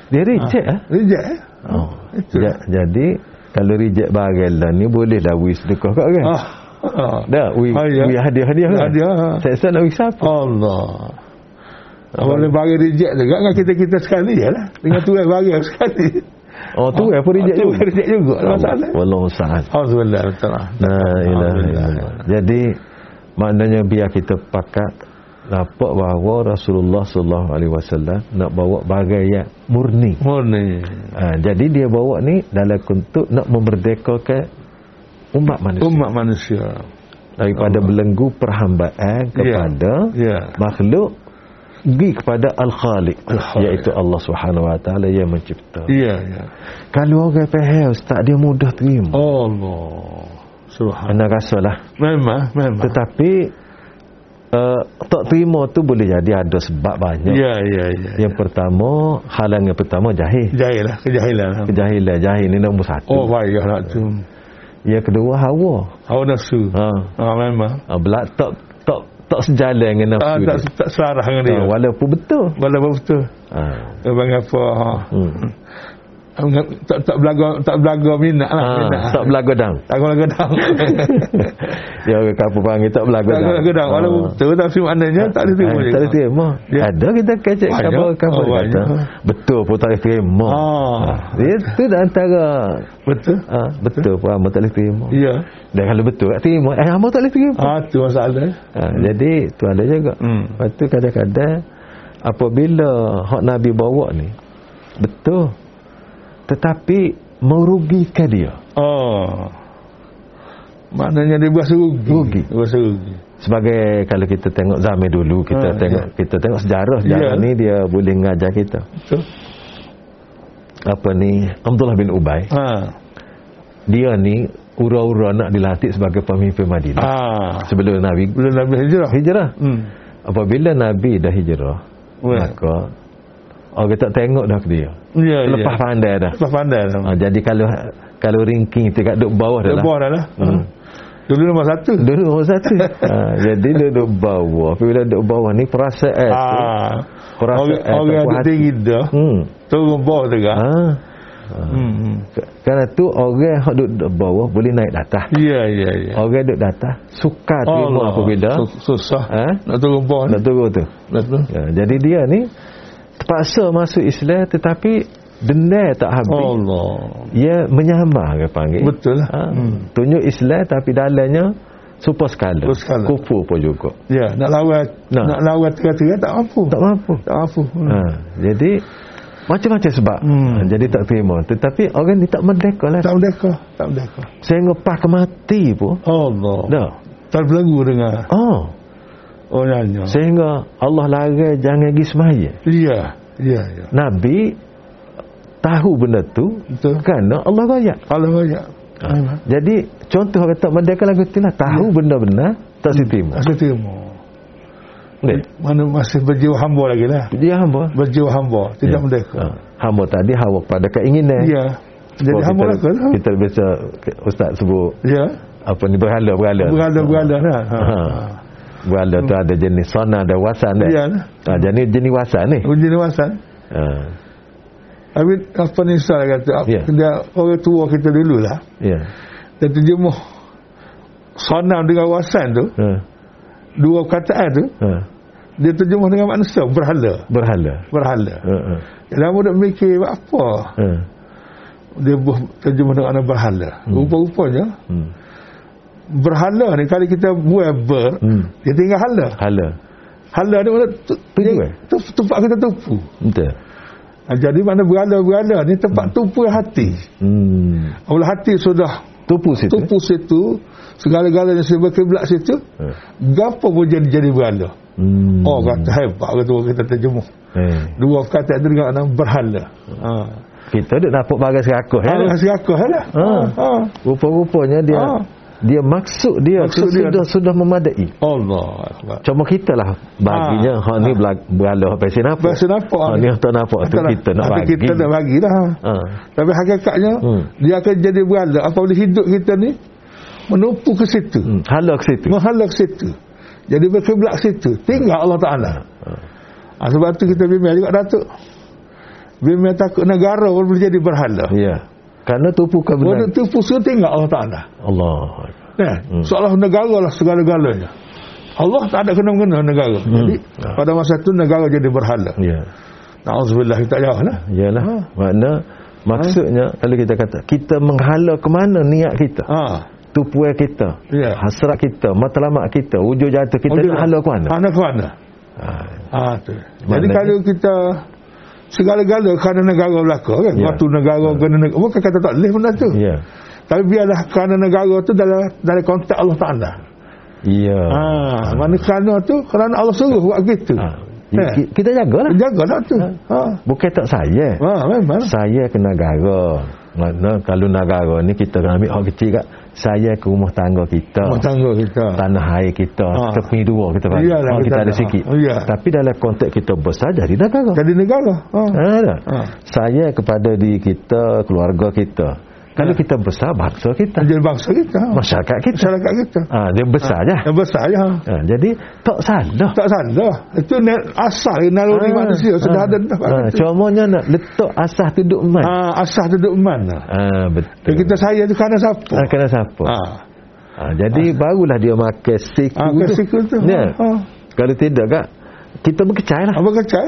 B: Dia reject ah.
C: Reject ya.
B: Oh.
C: Itu.
B: Ja, jadi kalau reject barang lah ni bolehlah wis sedekah kat kan.
C: Ah. ah.
B: Dah, we,
C: Ah, ya.
B: we hadiah-hadiah kan?
C: Hadiah. ah.
B: Saya nak wis apa?
C: Allah. Boleh bagi reject juga kan kita-kita sekali je lah. Dengan tu bagi sekali.
B: Oh, tu apa reject
C: Ah. tu?
B: tu?
C: Reject juga. Tak Masalah.
B: Wallahu sa'al.
C: Alhamdulillah. Alhamdulillah.
B: La ilaha illallah.
C: Alhamdulillah.
B: Jadi maknanya biar kita pakat nampak bahawa Rasulullah sallallahu alaihi wasallam nak bawa barang yang murni.
C: Murni.
B: Ha, jadi dia bawa ni dalam bentuk nak memerdekakan umat manusia
C: Umat manusia.
B: daripada belenggu perhambaan kepada
C: Ya.
B: makhluk pergi kepada al-khaliq
C: Al-Khaliq.
B: iaitu Allah Subhanahu wa taala yang mencipta.
C: Ya, ya.
B: Kalau orang faham ustaz dia mudah terima.
C: Allah. Oh,
B: Ana
C: Subhanallah.
B: rasalah.
C: Memang, memang.
B: Tetapi uh, tak terima tu boleh jadi ada sebab banyak.
C: Ya, ya, ya. ya.
B: Yang pertama, halangan pertama jahil.
C: Jahil lah. Kejahilan. lah.
B: Kejahilan, jahil ni nombor satu.
C: Oh, baiklah nak tu.
B: Yang kedua hawa.
C: Hawa nafsu.
B: Ha.
C: Ah, memang.
B: ha belak tak tak tak sejalan dengan
C: Ah,
B: nafsu.
C: tak,
B: dia.
C: tak selarah dengan dia.
B: ha, walaupun betul.
C: Walau betul.
B: Ha.
C: Abang apa? Ha.
B: Hmm.
C: Abang- tak tak belaga tak belaga minat lah
B: Ha,
C: minat.
B: tak belaga dang.
C: tak belaga dah.
B: Ya orang kampung panggil tak belaga dang. Ha.
C: Belaga dah. Walau betul tapi maknanya tak ada terima.
B: Oh. Eh, Tak ada terima.
C: Ya.
B: Ada kita kecek
C: Banyak.
B: kabar-kabar
C: Oh,
B: dia kata.
C: banyak.
B: Betul pun tak ada terima.
C: Ah.
B: Dia tu di antara
C: Betul.
B: ha, betul pun amal tak boleh terima.
C: Ya.
B: Dan kalau betul tak terima, eh, amal tak boleh terima.
C: Ah tu masalah.
B: Ha, jadi tu ada juga.
C: Hmm.
B: Lepas tu kadang-kadang apabila hak Nabi bawa ni betul. Tetapi merugikan dia.
C: Oh. Maknanya dia berasa rugi.
B: Rugi.
C: Berasa rugi.
B: Sebagai kalau kita tengok zaman dulu, kita
C: Ah,
B: tengok kita tengok sejarah
C: Ya.
B: zaman ni dia boleh ngajar kita.
C: Betul.
B: Apa ni Abdullah bin Ubay.
C: Ha.
B: dia ni ura-ura nak dilantik sebagai pemimpin Madinah
C: Ah.
B: sebelum Nabi
C: Belum Nabi hijrah.
B: hijrah.
C: Hmm.
B: Apabila Nabi dah hijrah,
C: Weh.
B: maka orang tak tengok dah ke dia.
C: Ya, ya.
B: Lepas pandai dah.
C: Lepas pandai lah. dah.
B: Ha, jadi kalau kalau ranking dekat duk bawah dah lah.
C: Lepas dah lah.
B: Hmm.
C: Dulu nombor satu.
B: Dulu orang satu. ha, jadi dia duk bawah. Apabila duk bawah ni perasaan tu,
C: Ah.
B: Perasaan
C: Orang
B: eh, tak
C: orang
B: puas
C: ada
B: hati.
C: tinggi dah.
B: Hmm.
C: Turun bawah tu kan.
B: Ha.
C: Hmm. hmm.
B: Kerana tu orang hak duk duk bawah boleh naik atas.
C: Ya, ya, ya.
B: Orang duk atas
C: Oh,
B: sukar terima
C: Allah.
B: apabila
C: Sus- Susah.
B: Ha?
C: Eh? Nak turun bawah ni.
B: nak turun tu.
C: Betul.
B: Ya, jadi dia ni terpaksa masuk Islam tetapi dendam tak habis. Oh.
C: Allah.
B: Ia menyamar ke panggil.
C: Betul lah.
B: Ha, Tunjuk Islam tapi dalamnya super skala.
C: Super skala.
B: Kufur pun juga.
C: Ya, nak lawan
B: Nah.
C: nak lawan tengah-tengah tak mampu.
B: Tak mampu.
C: Tak mampu. Hmm.
B: Ha, jadi macam-macam sebab.
C: Hmm.
B: Ha, jadi tak terima. Tetapi orang ni tak merdeka lah.
C: Tak merdeka, tak merdeka.
B: Sehingga pas ke mati pun.
C: Allah.
B: Dah.
C: Terbelenggu dengan
B: Oh.
C: orangnya.
B: Sehingga Allah larang jangan pergi semaya.
C: Ya, ya, ya.
B: Nabi tahu benda tu
C: Betul.
B: kerana Kan? Allah royak.
C: Kalau banyak. eh,
B: Ha. Jadi contoh orang tak merdeka lagu tu lah tahu
C: Ya.
B: benda-benda tak sitima.
C: Aku terima.
B: Boleh.
C: Mana masih berjiwa hamba lagi lah.
B: Dia hamba.
C: Berjiwa hamba, tidak
B: Ya.
C: merdeka.
B: Ha. Hamba tadi hawa kepada keinginan.
C: Ya. Jadi
B: Sebab
C: hamba
B: kita,
C: lah kau lah.
B: Kita biasa ustaz sebut
C: Ya.
B: apa ni berhala-berhala.
C: Berada-berada lah. Ha.
B: Ha. Berhala tu ada jenis sona ada wasan dah.
C: Hmm. Ya lah.
B: Ha, jenis jenis wasan ni.
C: Uji nawasan.
B: Ha.
C: Habis apa ni Ustaz kata apa,
B: Ya.
C: dia, Orang tua kita dulu lah
B: Ya.
C: Dia terjemuh Sonam dengan wasan tu
B: Ha.
C: Dua kataan tu
B: ha.
C: Dia terjemuh dengan manusia Berhala
B: Berhala.
C: Berhala
B: Ha. Ha.
C: Lama duk mikir buat apa
B: ha.
C: Dia buh- terjemuh dengan anak berhala Rupa-rupanya
B: Hmm.
C: Berhala ni kali kita buat ber
B: Hmm.
C: Dia tinggal hala
B: Hala.
C: Hala ni mana tu,
B: Tuju,
C: dia-
B: eh?
C: tu, Tempat kita tupu
B: Betul.
C: Ah, Jadi mana berala-berala ni tempat tupu hati.
B: Hmm.
C: Apabila hati sudah
B: Tupu situ.
C: tupu situ, segala-galanya serba kiblat situ,
B: Eh.
C: gapo pun jadi jadi berhala.
B: Hmm.
C: Oh kata hebat kata orang kita terjemuh.
B: Eh.
C: Dua kata itu dengan nama berhala. Ha.
B: Kita duk dapat barang serakus ya.
C: Ha rasa aku lah.
B: Ha.
C: Ha.
B: Rupa-rupanya dia
C: Ah.
B: dia maksud dia tu
C: Maksud dia.
B: sudah sudah memadai.
C: Allah akbar.
B: Cuma kita lah baginya
C: Ah.
B: ha, ni bela- berala pasal apa?
C: Bahasa nampak.
B: Ha, ni tak nampak tu
C: Entahlah.
B: kita nak
C: Tapi
B: bagi.
C: Kita nak bagilah.
B: Ha.
C: Tapi hakikatnya
B: Hmm.
C: dia akan jadi berhala apabila hidup kita ni menumpu ke situ.
B: Hmm. Hala ke situ.
C: Menghala ke situ. Jadi berkiblat ke situ. Tinggal Allah Ta'ala. Ha, sebab tu kita bimbing juga Datuk. Bimbing takut negara pun boleh jadi berhala.
B: Ya. Kerana tupu
C: Benda
B: kebenaran.
C: tu pusat tinggal Allah Ta'ala.
B: Allah.
C: Nah,
B: Hmm.
C: hmm. Seolah negara lah segala-galanya. Allah tak ada kena-mengena negara.
B: Hmm.
C: Jadi,
B: Ha.
C: pada masa tu negara jadi berhala.
B: Ya.
C: Na'udzubillah, kita jauh lah.
B: Yalah.
C: Ha.
B: Makna maksudnya
C: Ah.
B: kalau kita kata kita menghala ke mana niat kita?
C: Ha.
B: Tupuan kita.
C: Ya.
B: Hasrat kita, matlamat kita, wujud jatuh kita
C: Wujud-
B: nak hala ke mana?
C: Ha, nak ke mana?
B: Ha.
C: Ha, tu. Jadi,
B: Maknanya-
C: kalau kita segala-gala kerana negara belaka kan?
B: Ya.
C: Waktu negara kena negara. Bukan kata tak boleh benda tu.
B: Ya.
C: Tapi biarlah kerana negara tu dalam dalam konteks Allah Ta'ala.
B: Ya.
C: Ha. Mana kerana tu, kerana Allah suruh buat gitu.
B: Ha.
C: Ha.
B: Ki- Kita jagalah.
C: Jagalah tu.
B: Ha.
C: Ha.
B: Bukan tak saya.
C: Ha, memang.
B: Saya ke negara. Mana kalau negara ni kita kena ambil hak kecil kat saya ke rumah tangga kita.
C: Rumah tangga kita.
B: tanah air kita
C: Ha.
B: tepi dua kita bagi
C: Iyalah,
B: ha, kita
C: kita
B: ada
C: ada. Ah,
B: sikit
C: Iya.
B: tapi dalam konteks kita besar jadi negara
C: Jadi negara. Ha.
B: ha, tak?
C: Ha.
B: saya kepada diri kita keluarga kita kalau kita besar bangsa kita
C: Ah. Jadi bangsa kita. Ah.
B: masyarakat kita
C: Masyarakat kita.
B: ha, dia besar je
C: Yang besar ya.
B: ha, jadi tak salah
C: Tak salah. Itu ne- asal naluri manusia sudah ada dah.
B: ha, Ah. cumanya nak letak asah tu duk man ha.
C: Ha, asal duduk mana?
B: Ah. betul
C: Dan kita saya tu kerana siapa?
B: ha, kena siapa
C: Ha.
B: ha.
C: Ah.
B: jadi barulah dia makan siku
C: Ha, ke siku tu.
B: Ya.
C: Ha.
B: kalau tidak kak kita berkecai lah
C: Ah. Apa kecai?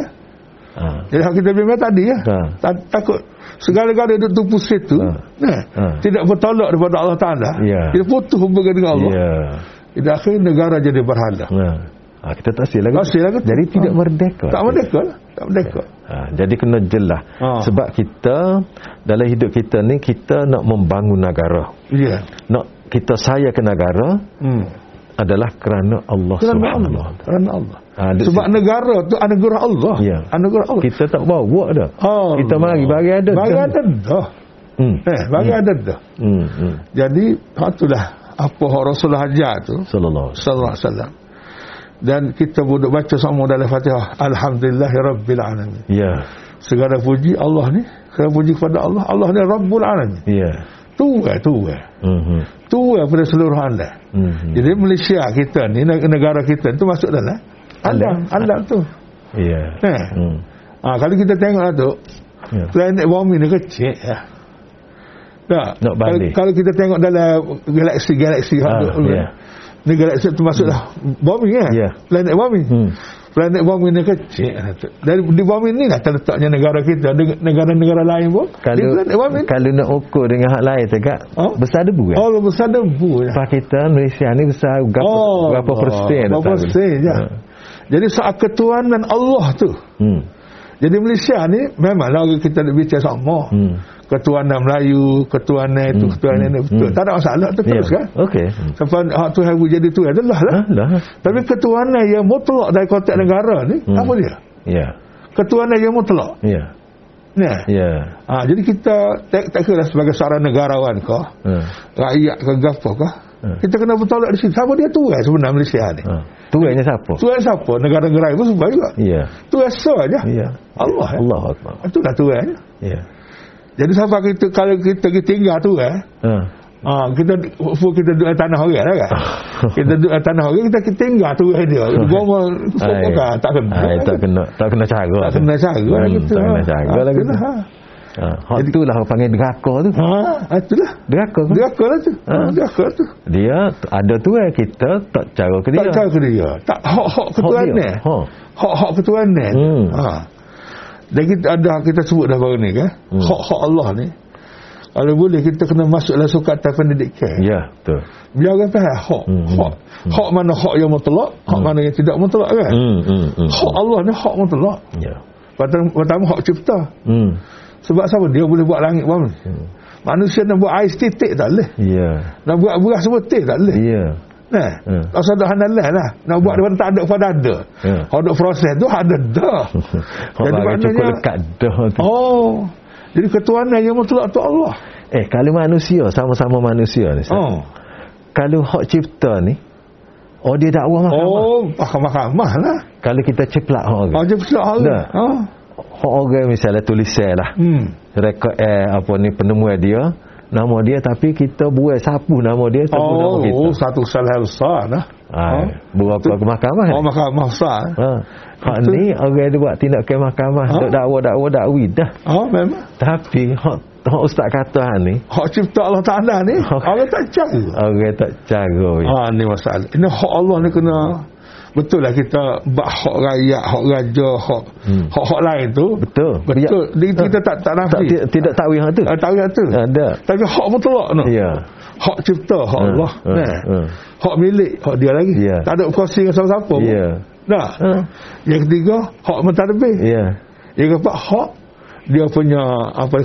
B: ha.
C: Jadi hak kita bimbing tadi ya.
B: Ha.
C: Ta- takut segala-gala duduk tu pusat tu.
B: Ha.
C: Nah,
B: Ha.
C: tidak bertolak daripada Allah Taala.
B: Ya.
C: Kita putus hubungan dengan Allah.
B: Ya.
C: Jadi akhirnya negara jadi berhala.
B: Nah. Ha, kita tak silap.
C: Tak silap ke?
B: Jadi
C: Ha.
B: tidak merdeka.
C: Tak merdeka lah. Tak merdeka.
B: Ha, jadi kena jelas.
C: Ha.
B: Sebab kita dalam hidup kita ni kita nak membangun negara.
C: Ya.
B: Nak kita saya ke negara
C: Hmm.
B: adalah kerana Allah
C: Kerana
B: Subhanahu
C: Allah.
B: Wa Taala.
C: Kerana Allah.
B: Ha, dia-
C: Sebab negara tu anugerah Allah.
B: Ya.
C: Anugerah Allah.
B: Kita tak bawa dah.
C: Allah.
B: Kita mari bagi kan? ada.
C: Bagi ada dah.
B: Hmm.
C: Eh, bagi ada dah.
B: Hmm. hmm.
C: Jadi, itulah apa yang Rasulullah ajar tu.
B: Sallallahu alaihi
C: Sallallahu alaihi wasallam. Dan kita duduk baca semua dalam Fatihah. Alhamdulillah Rabbil
B: wasallam.
C: Alamin.
B: Ya.
C: Segala puji Allah ni. Segala puji kepada Allah. Allah ni Rabbul Alamin.
B: Ya.
C: Tu eh, tu eh.
B: Hmm. hmm.
C: Tu eh pada seluruh anda.
B: Hmm. hmm.
C: Jadi Malaysia kita ni, neg- negara kita tu masuk dalam eh?
B: Alam.
C: alam, alam tu.
B: Ya.
C: Eh.
B: Hmm.
C: Ha, kalau kita tengok lah tu,
B: Ya.
C: planet bumi ni kecil lah. Tak?
B: Nak
C: kalau,
B: balik.
C: kalau kita tengok dalam galaksi-galaksi
B: Ah,
C: ha,
B: ya.
C: ni galaksi tu masuklah bumi kan?
B: Ya.
C: Planet bumi.
B: Hmm.
C: Planet bumi ni kecil lah tu. Dari di bumi ni lah terletaknya negara kita, Neg- negara-negara lain pun. di
B: Kalau
C: planet bumi ni.
B: kalau nak ukur dengan hak lain tu kak
C: Ha?
B: besar debu kan?
C: Allah besar debu lah.
B: Lepas kita Malaysia ni besar berapa,
C: Allah.
B: berapa persen
C: Berapa
B: tak tahu.
C: persen ya. je.
B: Ha.
C: Oh, Jadi soal ketuhanan Allah tu.
B: Hmm.
C: Jadi Malaysia ni memanglah orang kita nak bicara sama.
B: Hmm.
C: Ketuhanan Melayu, ketuhanan itu,
B: Hmm.
C: ketuhanan ini. Betul.
B: Hmm.
C: Tak ada masalah tu
B: Ya.
C: terus kan.
B: Okey. Hmm.
C: Sampai hak Tuhan pun jadi Tuhan tu lah lah.
B: Ha, lah.
C: Tapi ketuhanan yang mutlak dari konteks negara ni,
B: Hmm.
C: apa dia?
B: Ya.
C: Ketuhanan yang mutlak.
B: Ya.
C: Ni.
B: Ya.
C: Ha, jadi kita tak, tak kira sebagai seorang negarawan ke,
B: Ha.
C: rakyat ke, gapo ke,
B: Hmm.
C: kita kena bertolak di sini. Siapa dia Tuhan sebenarnya Malaysia ni?
B: Ha. Tuannya siapa?
C: Tuhan siapa? Negara-negara pun semua juga.
B: Ya.
C: Tuhan saja.
B: Ya.
C: Allah. eh.
B: Allah Akbar.
C: Itulah Tuhan.
B: Ya.
C: Jadi sampai kita kalau kita tinggal tu eh,
B: Ha.
C: ha, kita fu- kita duduk atas tanah orang lah
B: Ah.
C: kan. kita duduk atas tanah orang kita kita tinggal tu eh dia. Goma fokus tak kena.
B: Ai, tak kena tak kena cara.
C: Tak kena cara lah
B: Hmm,
C: kita.
B: tak kena cara
C: Ha,
B: lah kita.
C: itulah,
B: Ha. Hak tu lah orang panggil deraka tu.
C: Ha, ha, itulah.
B: Deraka. tu.
C: Deraka lah tu.
B: Ha.
C: Ha. Deraka tu.
B: Dia ada tu eh kita tak cara ke dia.
C: Tak cara ke dia. Tak hak-hak ketuan ni.
B: dia. Ha.
C: Hak-hak ketuan ni.
B: Hmm.
C: Ha. Dan kita ada kita sebut dah baru ni kan.
B: Hmm.
C: Hak-hak Allah ni. Kalau boleh kita kena masuk langsung ke atas pendidikan.
B: Ya, betul.
C: Biar orang faham hak.
B: Hmm, hmm,
C: Hak. Hak mana hak yang mutlak, hak mana yang tidak mutlak kan.
B: Hmm, hmm, hmm.
C: Hak Allah ni hak mutlak.
B: Ya.
C: Lepas Pertama, pertama hak cipta.
B: Hmm.
C: Sebab siapa? Dia boleh buat langit bangun.
B: Hmm.
C: Manusia nak buat air setitik tak boleh.
B: Ya.
C: Nak buat beras sebetik tak boleh.
B: Ya.
C: Nah,
B: Ya.
C: tak sadar handalah lah. Nak buat
B: Hmm.
C: daripada tak ada pada ada.
B: Ya.
C: Kalau duk proses tu ada dah.
B: Hmm. Orang akan cukup
C: maknanya-
B: dekat dah tu.
C: Oh. Jadi ketuanan yang mutlak tu Allah.
B: Eh, kalau manusia, sama-sama manusia ni. Ustaz.
C: Oh.
B: Kalau hak cipta ni, oh dia dakwah mahkamah.
C: Oh, mahkamah-mahkamah lah.
B: Kalau kita ceplak hak orang.
C: Macam pula
B: Hmm.
C: Allah.
B: Dah.
C: Oh.
B: Hak orang misalnya tulisan lah.
C: Hmm.
B: Rekod eh, apa ni penemuan dia, nama dia tapi kita buai sapu nama dia sapu nama
C: Oh,
B: kita.
C: oh, satu salah besar dah.
B: Ha,
C: Oh.
B: buat apa ke mahkamah.
C: Oh, mahkamah besar. eh?
B: Ha. Hak
C: Betul.
B: ni orang dia buat tindak ke mahkamah,
C: Ha.
B: ha? dakwa-dakwa dakwi dah.
C: Oh, memang.
B: Tapi hak hak ustaz kata hak ni,
C: Hak cipta Allah Ta'ala ni,
B: Oh.
C: Allah tak cara.
B: orang tak cara. Ha.
C: Ha, ni masalah. Ini hak Allah ni kena betul lah kita bak hak rakyat, hak raja, hak
B: Hmm.
C: hak hak lain tu.
B: Betul. Ya. Ha.
C: Betul. Jadi kita tak tak
B: Tak,
C: nafi. Ah,
B: ti- tidak takwil hak tu.
C: Tak tahu yang tu.
B: Ada.
C: Tapi hak mutlak tu.
B: Ya.
C: Hak cipta,
B: Ha,
C: hak Allah.
B: ha,
C: Nah.
B: ha.
C: Hak milik, hak dia lagi.
B: Ya.
C: Tak ada berkuasa dengan siapa-siapa. pun.
B: Ya.
C: Nah.
B: Ha.
C: Yang ketiga, hak mentadbir.
B: Ya.
C: Yang keempat, hak dia punya apa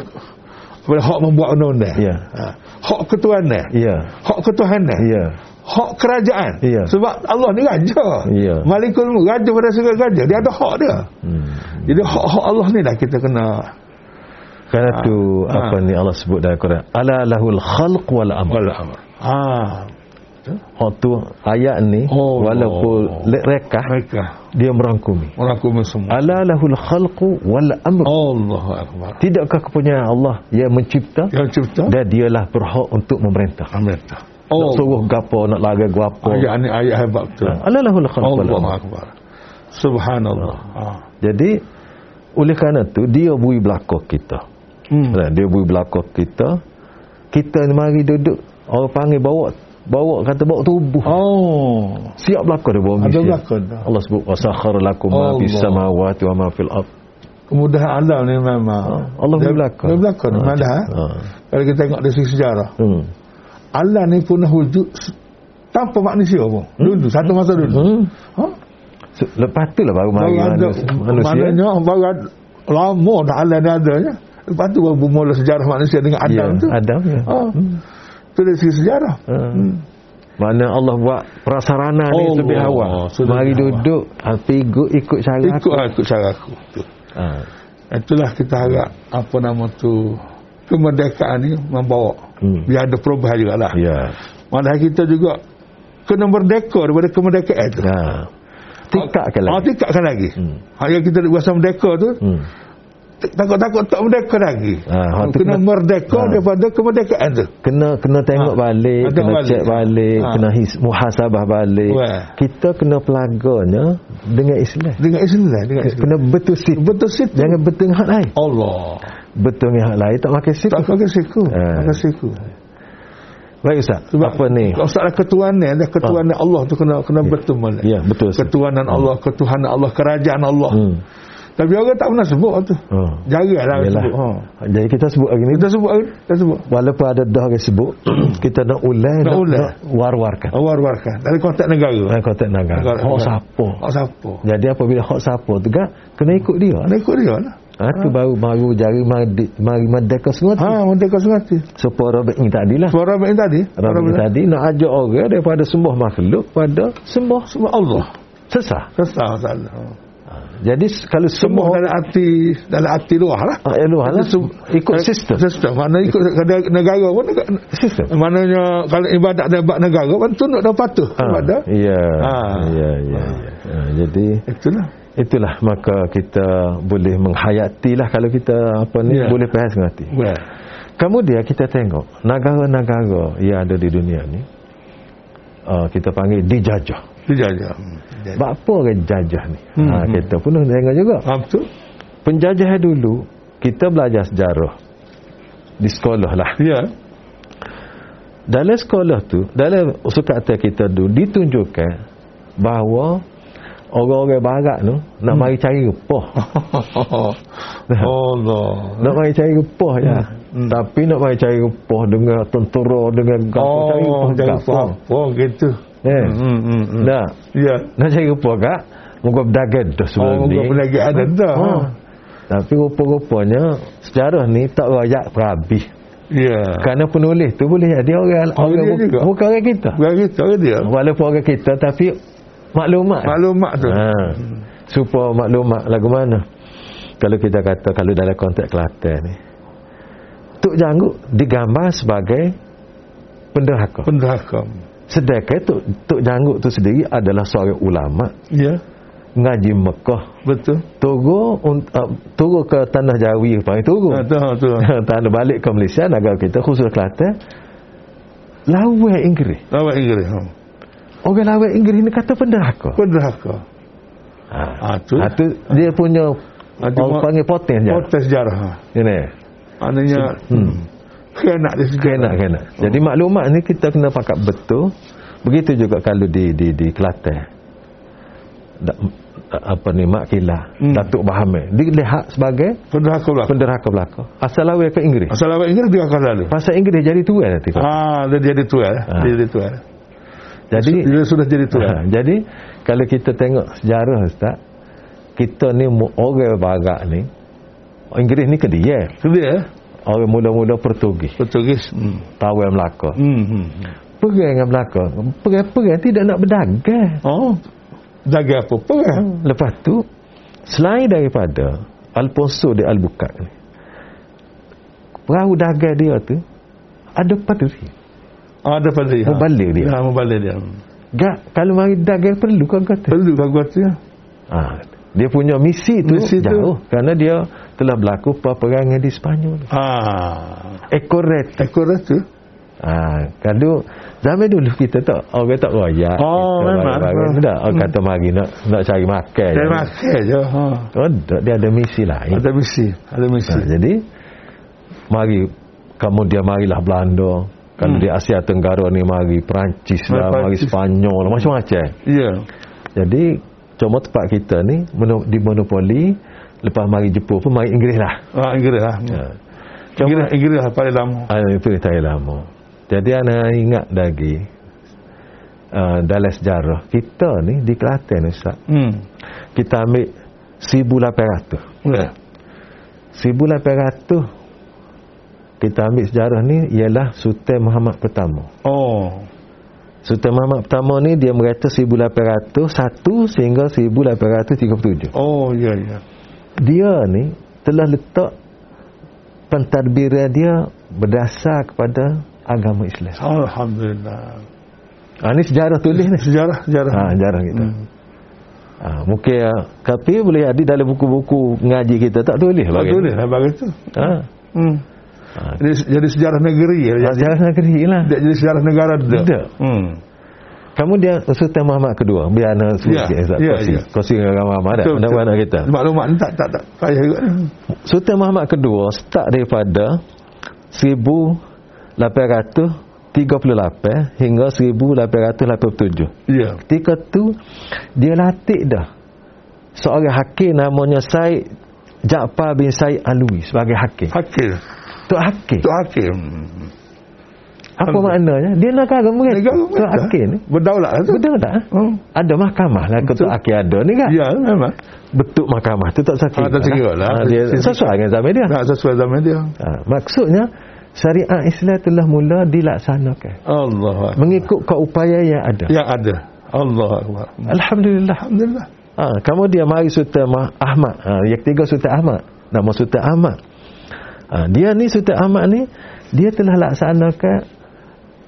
C: apa hak membuat undang-undang.
B: Ya.
C: Ha. Hak ketuhanan.
B: Ya.
C: Hak ketuhanan.
B: Ya.
C: hak kerajaan.
B: Ya.
C: Sebab Allah ni raja.
B: Ya.
C: Malikul Mulk, raja pada segala raja. Dia ada hak dia.
B: Hmm.
C: Jadi hak-hak Allah ni lah kita kena.
B: Kerana
C: Ha.
B: tu
C: Ha.
B: apa ni Allah sebut dalam Quran, ala lahul khalq wal amr.
C: Ha.
B: Hak tu ayat ni
C: Oh.
B: walaupun le- rekah
C: Mereka
B: dia merangkumi.
C: merangkum semua.
B: Ala lahul khalq wal amr.
C: Oh. Allahu Akbar.
B: Tidakkah kepunyaan Allah yang mencipta
C: Yang cipta.
B: dan dialah berhak untuk memerintah.
C: Amin.
B: Nak
C: Oh. Ah, ya,
B: suruh gapo, nak lagai gapo. Ha,
C: Ayat ni ayat hebat betul.
B: Ala lahul khalq wal
C: Allahu
B: amr.
C: Akbar. Subhanallah. Ha.
B: Jadi oleh kerana tu dia bui belakang kita.
C: Hmm.
B: Nah, dia bui belakang kita. Kita ni mari duduk orang panggil bawa bawa kata bawa tubuh.
C: Oh.
B: Siap belakang dia bawa
C: Ada
B: manusia.
C: belakang dah.
B: Allah sebut wasakhara lakum ma fis
C: Allah.
B: samawati wa ma fil ard. Ha?
C: Kemudahan Allah ni memang.
B: Ah. Allah
C: Dia-
B: bui belakang.
C: Dia belakang.
B: Ha,
C: Malah.
B: ha.
C: Kalau kita tengok dari segi sejarah.
B: Hmm.
C: Allah ni punah wujud s- tanpa manusia pun. Dulu, satu masa dulu.
B: Hmm.
C: Ha?
B: Se- Lepas tu lah baru mari
C: Baru ada,
B: manusia. manusia.
C: maknanya baru ada, lama dah Allah ni adanya. Lepas tu baru bermula sejarah manusia dengan Adam
B: Ya,
C: tu.
B: Adam ya.
C: Ha. Tu dari segi sejarah.
B: Ha. Mana Allah buat prasarana ni
C: Allah,
B: lebih awal.
C: sudah
B: Mari
C: lebih awal.
B: duduk, tapi ikut cara
C: Ikut
B: aku.
C: lah, ikut cara aku. Tu.
B: Ha.
C: Itulah kita harap apa nama tu kemerdekaan ni membawa.
B: Hmm.
C: Biar ada perubahan juga lah.
B: Ya.
C: Malah kita juga kena merdeka daripada kemerdekaan tu.
B: Nah. Tikakkan Ya,
C: Oh,
B: Ha. lagi.
C: tikakkan lagi.
B: Hmm.
C: Hak yang kita buat sama merdeka tu,
B: Hmm.
C: takut-takut tak merdeka lagi. Ah,
B: Ha, hak tu
C: kena
B: kena-
C: merdeka
B: ha.
C: daripada kemerdekaan tu.
B: Kena kena tengok
C: Ha.
B: balik,
C: Ada
B: kena
C: balik.
B: cek balik,
C: Ha.
B: kena his, muhasabah balik.
C: Wah.
B: Kita kena pelaganya dengan Islam.
C: Dengan Islam, dengan Islam.
B: Kena betul sit.
C: Betul situ.
B: Jangan betul dengan hak lain.
C: Allah.
B: Betul dengan hak lain tak pakai sit.
C: Tak pakai siku.
B: Ha.
C: Tak pakai siku.
B: Baik ustaz. apa ni? Ah.
C: Kalau Ustaz ketuanan, dah ketuanan Allah tu kena kena betul balik.
B: Ya, betul, Ustaz.
C: Ketuanan Allah, ketuhanan Allah, kerajaan Allah.
B: Hmm.
C: Tapi orang tak pernah sebut tu.
B: Ha.
C: Jaranglah
B: Yalah.
C: sebut. Ha.
B: Jadi kita sebut hari ni
C: Kita sebut, kita sebut.
B: walaupun ada dah orang sebut kita nak ulang
C: Nak ulang.
B: war-warkan.
C: Awar-warkan. Dari konteks negara.
B: Dalam konteks naga.
C: Negara-
B: Hak Oh, siapa?
C: Hak siapa?
B: Jadi apabila hak siapa tu kan kena ikut dia.
C: Ada ikut dia lah.
B: Ha, tu baru baru jari mari, mari merdeka semua tu.
C: Ha, merdeka sungai.
B: Supaya Robert ni tadi lah.
C: Suara Rabi tadi.
B: Robert ni tadi nak ajak orang daripada sembah makhluk pada sembah
C: Sebab Allah.
B: sesah.
C: Sesah salah.
B: Jadi s- kalau
C: Ah. Semua
B: semua
C: dalam hati dalam hati luar lah.
B: Ah, eluh lah
C: Sem-
B: ikut
C: eh,
B: sistem. Ah.
C: Sistem. Mana ikut kada- negara pun neg-
B: Sistem.
C: Maknanya kalau ibadat debat negara pun tunduk dan patuh
B: Ah,
C: kepada.
B: Ya.
C: Ah.
B: Ya ya. ya. Ah, Jadi
C: Itulah.
B: itulah maka kita boleh menghayatilah kalau kita apa ni
C: Ya.
B: boleh faham dengan hati.
C: Well.
B: Kemudian kita tengok negara-negara yang ada di dunia ni uh, kita panggil dijajah.
C: Itu saja.
B: Sebab Eh, apa orang jajah ni?
C: Hmm,
B: Hmm, ha,
C: hmm.
B: kita pun nak tengok juga.
C: Faham tu?
B: Penjajahan dulu kita belajar sejarah di sekolah lah.
C: Ya.
B: Dalam sekolah tu, dalam sukata kita tu ditunjukkan bahawa orang-orang barat tu nak
C: Hmm.
B: mari cari repah.
C: Allah.
B: Nak mari cari repah je.
C: Hmm.
B: Tapi nak mari cari repah dengan tentera, dengan gapo cari
C: Oh,
B: repah.
C: jangan
B: gapo.
C: faham. Oh, gitu.
B: Eh.
C: Hmm, hmm, hmm.
B: Nah,
C: Ya.
B: nak cari repah kak, moga berdagang dah sebelum
C: Oh,
B: ni.
C: moga berdagang ada dah.
B: Ha. Tapi rupa-rupanya sejarah ni tak rakyat perhabis.
C: Ya.
B: Kerana penulis tu boleh jadi orang,
C: Oh,
B: orang
C: dia
B: bu-
C: juga?
B: bukan orang kita.
C: Bukan kita ke dia.
B: Walaupun orang kita tapi maklumat.
C: Maklumat tu.
B: Ha. Supaya maklumat lagu mana? Kalau kita kata kalau dalam konteks Kelantan ni. Tok Janggut digambar sebagai penderhaka.
C: Pendahaka.
B: Sedangkan Tok, Tok Janggut tu sendiri adalah seorang ulama
C: Ya.
B: ngaji Mekah.
C: Betul.
B: Turun un- uh, turun ke tanah Jawi panggil turun.
C: Ha, tu, tu.
B: tanah balik ke Malaysia negara kita khusus Kelantan. Lawan Inggeris.
C: Lawat Inggeris. Ha.
B: Orang lawan Inggeris ni kata penderhaka.
C: Pendahaka.
B: Ha,
C: Ah, tu.
B: ha, tu dia punya
C: Ah, tu
B: orang
C: mak-
B: panggil poten je.
C: Potes sejarah. Ha.
B: Ini.
C: Maknanya
B: Hmm.
C: khianat dia
B: Kena
C: sejarah.
B: kena.
C: Oh.
B: Jadi maklumat ni kita kena pakat betul. Begitu juga kalau di di di Kelantan. Da- apa ni Mak Kila,
C: Hmm.
B: Datuk Bahamir. Dilihat sebagai
C: Pendahaka pula.
B: penderhaka belaka. Asal lawa ke Inggeris.
C: Asal lawat Inggeris dia akan lalu.
B: Pasal Inggeris jadi tuan nanti. Ha,
C: Ah, dia jadi tuan.
B: Ah.
C: Dia jadi tuan.
B: jadi
C: dia sudah jadi eh. tuan.
B: Ha, jadi kalau kita tengok sejarah ustaz, kita ni mu- orang barat ni Inggeris ni ke dia.
C: Tu dia.
B: Orang mula-mula Portugis.
C: Portugis. eh. Hmm.
B: Tawai Melaka.
C: Hmm. hmm.
B: Perang dengan Melaka. Perang-perang tidak nak berdagang.
C: Oh. eh. Dagang apa? Perang.
B: Lepas tu, selain daripada Alfonso de Albuquerque ni, perahu dagang dia tu, ada padri.
C: Ah, ada pada dia.
B: Membalik dia.
C: Ha, membalik dia.
B: Gak, kalau mari dagang perlu kau kata.
C: Perlu kau buat dia.
B: Ha, dia punya misi tu
C: Misi tu.
B: jauh. Kerana dia telah berlaku peperangan di Sepanyol.
C: Ah.
B: Ekoret.
C: Ekor dah
B: Eh,
C: tu.
B: Ha, kalau zaman dulu kita tak, orang tak royak.
C: Oh,
B: Kita
C: memang.
B: barang-barang tu dah. Orang kata mari nak, nak cari makan.
C: Saya
B: je.
C: makan je. Ha.
B: Oh, tak, dia ada misi lain.
C: Ada misi. Ada
B: Ha,
C: misi.
B: jadi mari kemudian marilah Belanda. Kalau
C: Hmm.
B: di Asia Tenggara ni mari Perancis lah,
C: Mari
B: mari
C: Perancis.
B: Spanyol, lah, macam-macam.
C: Ya.
B: Jadi cuma tempat kita ni mono- dimonopoli lepas mari Jepun pun mari Inggeris lah.
C: Ah, Inggeris lah.
B: Ha.
C: Inggeris, Inggeris lah paling lama.
B: Ah, itu yang saya lama. Jadi ana ingat lagi uh, dalam sejarah kita ni di Kelantan ni Ustaz,
C: Hmm.
B: kita ambil 1800.
C: Ya.
B: 1800 kita ambil sejarah ni ialah Sultan Muhammad pertama.
C: Oh.
B: Sultan Muhammad pertama ni dia merata 1801 sehingga 1837.
C: Oh, ya, ya.
B: Dia ni telah letak pentadbiran dia berdasar kepada agama Islam.
C: Alhamdulillah.
B: Ha, ni sejarah tulis ni.
C: Sejarah, sejarah.
B: Ha, sejarah kita.
C: Hmm.
B: Ha, mungkin ah, tapi boleh jadi dalam buku-buku ngaji kita tak tulis
C: Bagi
B: bagi.
C: Betul ni, lah, bagi tu.
B: Ha.
C: Hmm.
B: ha.
C: Jadi, jadi sejarah negeri. Ya. Jadi,
B: Sejarah negeri lah.
C: jadi sejarah negara dia.
B: Dia.
C: Hmm.
B: Kemudian Sultan Muhammad kedua biar nak sebut
C: Ya,
B: sikit Ustaz
C: ya,
B: Kosi.
C: ya.
B: Kosi dengan orang Muhammad dah.
C: Betul,
B: Mana-mana
C: betul.
B: kita.
C: Maklumat ni tak, tak, tak. Kaya juga. ni.
B: Sultan Muhammad kedua start daripada 1838 hingga 1887.
C: Ya.
B: Ketika tu dia latih dah seorang hakim namanya Said Jaafar bin Said Alwi sebagai hakim.
C: Hakim.
B: Tok hakim.
C: Itu hakim. Hmm.
B: Apa maknanya? Dia negara mereka.
C: Negara
B: Tok
C: mereka.
B: hakim ni.
C: Berdaulat lah tu.
B: Betul tak?
C: Hmm.
B: Ada mahkamah lah
C: Betul.
B: ketua hakim ada ni kan?
C: Ya, memang.
B: bentuk mahkamah tu tak sakit.
C: Ah, tak sekira lah.
B: Ah, dia
C: Sisi-
B: sesuai dengan zaman dia.
C: Nak sesuai zaman dia.
B: Ha, maksudnya syariat Islam telah mula dilaksanakan
C: Allah.
B: mengikut keupaya yang ada.
C: Yang ada. Allah Akbar.
B: Alhamdulillah.
C: Alhamdulillah.
B: Ha, kamu dia mari Sultan Mah- Ahmad. Ha, yang ketiga Sultan Ahmad. Nama Sultan Ahmad. Ha, dia ni Sultan Ahmad ni dia telah laksanakan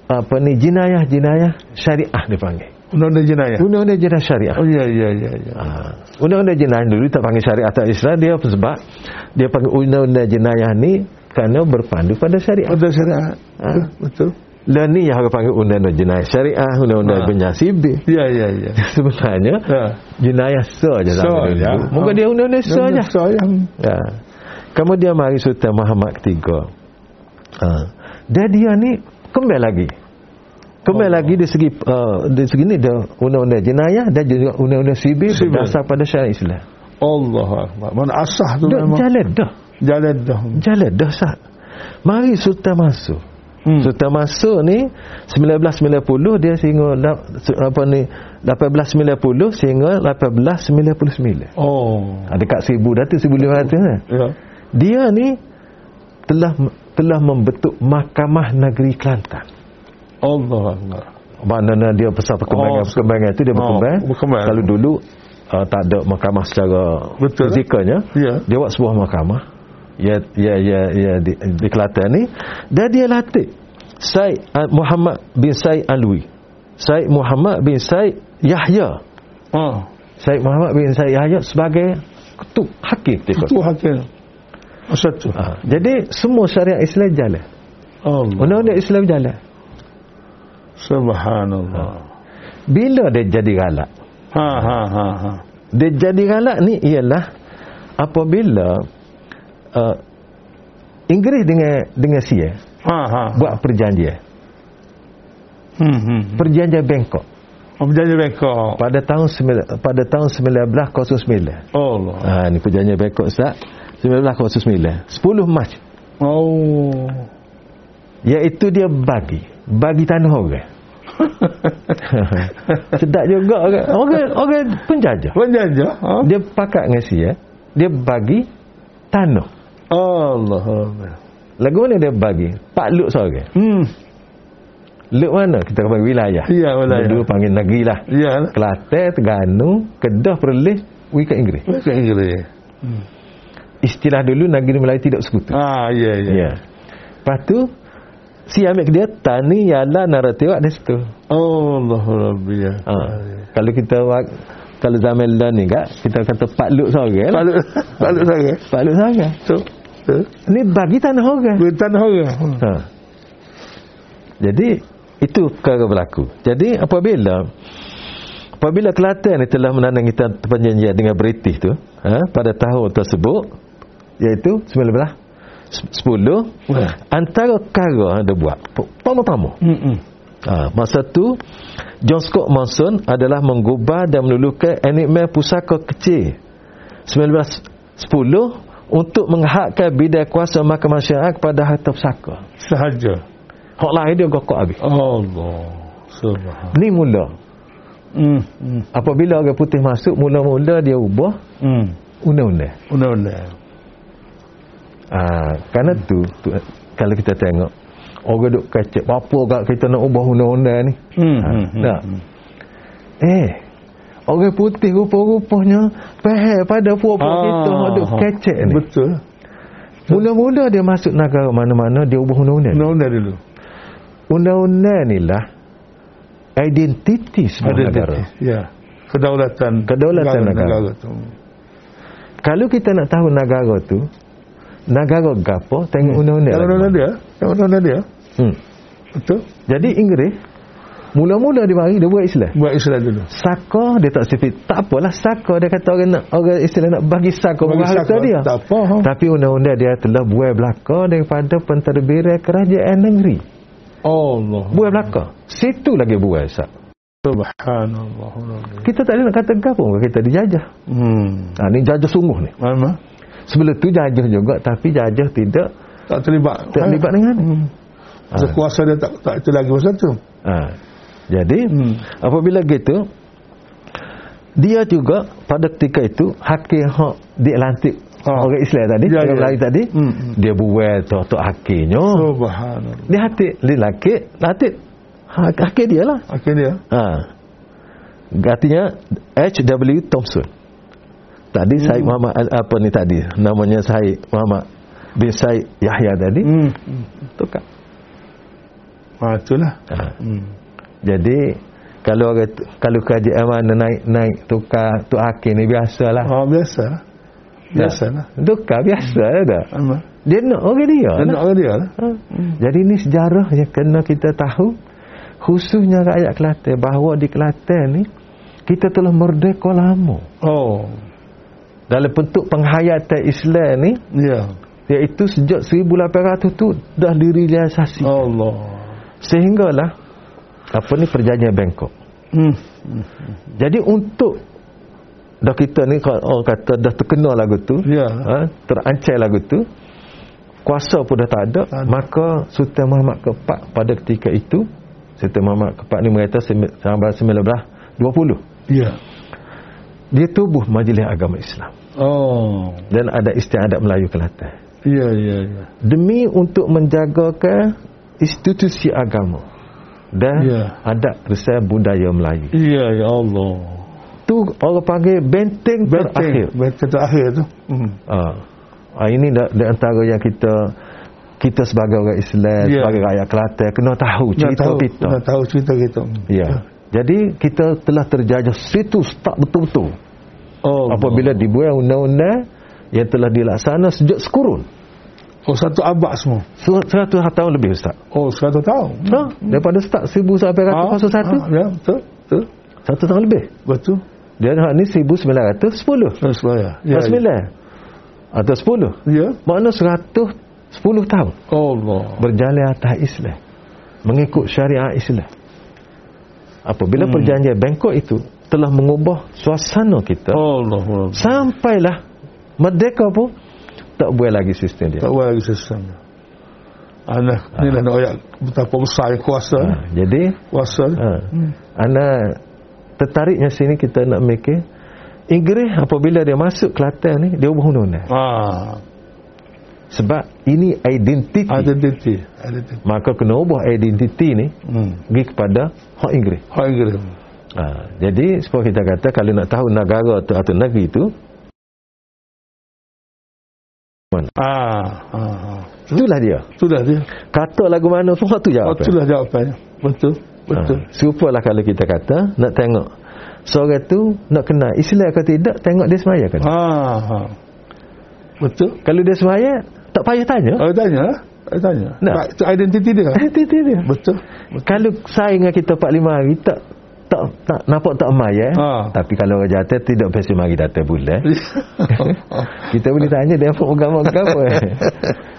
B: apa ni jenayah-jenayah syariah dipanggil.
C: Undang-undang jenayah.
B: Undang-undang jenayah syariah.
C: Ya. Oh, ya, ya, ya. ya.
B: Ah, Undang-undang jenayah dulu tak panggil syariat tak Islam dia apa sebab dia panggil undang-undang jenayah ni kerana berpandu pada syariat.
C: Ada syariah.
B: Ha.
C: Betul.
B: Lah ni yang orang panggil undang-undang jenayah syariah, undang-undang
C: Ha.
B: jenayah sivil.
C: Ya, ya, ya.
B: Sebenarnya
C: Ya.
B: jenayah saja
C: Sah
B: zaman
C: je.
B: dulu. Moga
C: Ha.
B: dia undang-undang saja.
C: Soalnya.
B: Ya. Kemudian mari Sultan Muhammad ketiga. Ha. Dan dia ni kembali lagi.
C: Oh.
B: Kembali lagi dari segi uh, dari segi ni dia undang-undang jenayah dan juga undang-undang sivil
C: Sivil.
B: berdasar pada syariat Islam.
C: Allah Akbar. Mana asah tu
B: Duk
C: memang.
B: jalan dah.
C: Jalan dah.
B: Jalan dah sah. Mari Sultan masuk.
C: Hmm.
B: Sultan Masud ni 1990 dia sehingga la- apa ni 1890 sehingga 1899.
C: Oh.
B: Ha, dekat 1000 dah tu 1500 kan.
C: Ya.
B: Dia ni telah telah membentuk Mahkamah Negeri Kelantan.
C: Allah Allah.
B: Maknanya dia besar perkembangan
C: Oh,
B: perkembangan itu dia
C: oh,
B: berkembang.
C: berkembang.
B: Kalau dulu uh, tak ada mahkamah secara
C: Betul.
B: fizikanya,
C: Ya.
B: dia buat sebuah mahkamah. Ya ya ya ya di, di Kelantan ni dan dia latih Said uh, Muhammad bin Said Alwi. Said Muhammad bin Said Yahya.
C: Oh.
B: Said Muhammad bin Said Yahya sebagai ketuk hakim ketika
C: Itu hakim. Masa tu.
B: Ha. Jadi semua syariat Islam jalan.
C: Allah.
B: Undang-undang Islam jalan.
C: Subhanallah.
B: Bila dia jadi galak?
C: Ha ha ha ha.
B: Dia jadi galak ni ialah apabila uh, Inggeris dengan dengan Sia
C: Ha ha.
B: buat perjanjian.
C: Hmm hmm.
B: Perjanjian Bangkok
C: Perjanjian Bangkok.
B: pada tahun sembil- pada tahun 1909.
C: Allah.
B: Ha ni perjanjian Bangkok Ustaz 1909. 10 Mac
C: Oh.
B: iaitu dia bagi bagi tanah orang. Sedap juga orang orang, orang penjajah.
C: Perjanjian. Ha?
B: Oh. Dia pakat dengan Sia, dia bagi tanah.
C: Allah Allah.
B: Lagu mana dia bagi? Pak Lut seorang.
C: Hmm.
B: Lut mana? Kita panggil wilayah.
C: Ya, wilayah.
B: Dulu panggil negeri lah.
C: Ya lah.
B: Kelantan, Terengganu, Kedah, Perlis, Wikat Inggeris.
C: Bahasa Inggeris.
B: Istilah dulu negeri Melayu tidak sekutu.
C: Ah ya ya.
B: Ya. Lepas tu, si ambil ke dia tani yala naratiwak di situ.
C: Allah Rabbi ya.
B: Ha. Kalau kita wak- kalau zaman dah ni kak, kita kata Pak Lut seorang lah.
C: Palut palut saya.
B: Pak Lut seorang.
C: Tu. Tu.
B: Ni bagi tanah orang.
C: Bertan orang. Hmm.
B: Ha. Jadi itu perkara berlaku. Jadi apabila apabila Kelantan ni telah menandangi tan- perjanjian dengan British tu ha, pada tahun tersebut iaitu 1910
C: Wah.
B: antara perkara yang dia buat pertama-tama
C: Hmm. hmm.
B: Ha, masa tu John Scott Monson adalah menggubah dan melulukan anime pusaka kecil 1910 untuk menghakkan bidang kuasa mahkamah syariah kepada harta pusaka.
C: Sahaja.
B: Hak lain dia gokok habis.
C: Allah. Subhanallah.
B: Ni mula.
C: Hmm. Hmm.
B: Apabila orang putih masuk, mula-mula dia ubah
C: Hmm.
B: undang-undang.
C: Undang-undang.
B: Ha, kerana tu, tu, kalau kita tengok, orang duk kacau, apa agak kita nak ubah undang-undang ni? Ha,
C: Hmm. Hmm. hmm,
B: tak.
C: hmm.
B: Eh, orang putih rupa-rupanya faham pada puak-puak
C: Ah,
B: kita hak duk kecek ni.
C: Betul.
B: Mula-mula dia masuk negara mana-mana dia ubah undang-undang.
C: Undang-undang dulu.
B: Undang-undang ni lah identiti sebuah
C: Ada
B: negara.
C: titik. Ya. Kedaulatan.
B: Kedaulatan negara.
C: tu.
B: Kalau kita nak tahu negara tu, negara gapo tengok undang-undang.
C: Yang
B: lah.
C: undang-undang dia. Yang undang-undang dia.
B: Hmm.
C: Betul.
B: Jadi Inggeris mula-mula dia mari dia buat Islam.
C: Buat Islam dulu.
B: Saka dia tak sifat tak apalah saka dia kata orang nak orang Islam nak bagi saka
C: Bagi
B: bukan harta
C: saka,
B: dia.
C: tak apa, ha.
B: Tapi undang-undang dia telah buai belaka daripada pentadbiran kerajaan negeri.
C: Allah.
B: Buai belaka. Situ lagi buai sah.
C: Subhanallah.
B: Kita tak boleh nak kata gapo kita dijajah.
C: Hmm.
B: Ha ni jajah sungguh ni.
C: Mana?
B: Sebelum tu jajah juga tapi jajah tidak
C: Tak terlibat.
B: tak terlibat dengan ni.
C: Hmm.
B: Ha.
C: Kuasa dia tak, tak itu lagi masa tu.
B: Ha. Jadi
C: Hmm.
B: apabila gitu dia juga pada ketika itu hakim hak dilantik
C: Ha.
B: orang Islam tadi,
C: Ya,
B: orang
C: ya.
B: Melayu Eh, tadi,
C: Hmm, hmm.
B: dia buat tok-tok hakimnya.
C: Subhanallah.
B: Dia hatik lelaki, latik hak, hakim dia lah.
C: Akhirnya.
B: Ha. Artinya H.W. Thompson. Tadi hmm. Syed Muhammad Al- apa ni tadi? Namanya Syed Muhammad bin Syed Yahya tadi. Hmm.
C: Hmm.
B: Tukar.
C: Ha, itulah.
B: Ha.
C: Hmm.
B: Jadi kalau orang tu- kalau kerajaan mana naik naik tukar tu hakim ni biasalah.
C: Ha, biasa.
B: Ya.
C: Biasa lah.
B: Tukar biasa lah dah.
C: Apa?
B: Dia nak orang dia.
C: Dan
B: lah.
C: nak dia lah.
B: Ha. Jadi ni sejarah yang kena kita tahu khususnya rakyat Kelantan bahawa di Kelantan ni kita telah merdeka lama.
C: Oh.
B: Dalam bentuk penghayatan Islam ni
C: Ya.
B: iaitu sejak 1800 tu dah direalisasi. Oh.
C: Allah.
B: Sehinggalah apa ni perjanjian Bangkok.
C: Hmm.
B: Jadi untuk dah kita ni kalau orang kata dah terkenal lagu tu,
C: Ya.
B: ha, terancai lagu tu, kuasa pun dah tak ada
C: Tak ada.
B: maka Sultan Muhammad keempat pada ketika itu Sultan Muhammad keempat ni merata sembi- sampai 1920
C: Ya.
B: dia tubuh majlis agama Islam
C: Oh.
B: dan ada istiadat Melayu Kelantan
C: Ya, ya, ya.
B: demi untuk menjagakan institusi agama dan
C: Ya.
B: adat resah budaya Melayu
C: Ya, ya Allah.
B: itu orang panggil benteng, terakhir
C: Betting, betting terakhir tu. Hmm.
B: Ah, Ah, ini da- di antara yang kita kita sebagai orang Islam,
C: Ya.
B: sebagai rakyat Kelantan kena tahu
C: Nak
B: cerita
C: tahu,
B: kita.
C: nak tahu cerita kita.
B: Ya. Jadi kita telah terjajah situs tak betul-betul
C: Oh.
B: apabila dibuat undang-undang yang telah dilaksana sejak sekurun.
C: Oh, satu abad semua.
B: Su- 100 tahun lebih Ustaz.
C: Oh, 100 tahun.
B: Ha? Daripada start 1000 sampai 101
C: Ya, betul. Betul.
B: Satu tahun lebih
C: Betul.
B: Dia hak ni 1910
C: Rasulullah. Ya.
B: 9 Atau 10
C: Ya.
B: Makna 110 tahun
C: Allah.
B: berjalan atas Islam mengikut syariah Islam apabila
C: Hmm.
B: hmm. perjanjian Bangkok itu telah mengubah suasana kita oh.
C: Allah. Allah.
B: sampailah merdeka pun tak boleh lagi sistem dia
C: Tak boleh lagi sesama. Anak ni lah nak ayat betapa besar yang kuasa.
B: ha, jadi
C: Kuasa.
B: ha,
C: Hmm.
B: ana tertariknya sini kita nak fikir Inggeris apabila dia masuk Kelantan ni dia ubah undang-undang
C: Ah,
B: sebab ini Ah, identiti
C: identiti, identiti.
B: maka kena ubah identiti ni
C: Hmm.
B: pergi kepada hak Inggeris
C: Hak Inggeris.
B: Ha, jadi sebab kita kata kalau nak tahu negara tu atau negeri tu
C: Ah, ah, ah.
B: itulah dia.
C: Itulah dia.
B: Kata lagu mana semua tu
C: Oh,
B: jawapan.
C: itulah jawapannya. Betul. Betul.
B: Ha, serupalah kalau kita kata nak tengok seorang tu nak kenal Islam atau tidak tengok dia semaya kan. Ha.
C: Ah, ah. Betul.
B: Kalau dia semaya tak payah tanya.
C: Saya tanya lah. Saya tanya.
B: Nak.
C: Nah. Itu identiti dia.
B: Eh, dia- dia- dia.
C: Betul.
B: Kalau saya dengan kita 4-5 hari tak tak, tak nampak tak maya eh?
C: Ha.
B: tapi kalau orang jatuh tidak pasti mari datang bulan Kita boleh tanya dia apa agama ke apa.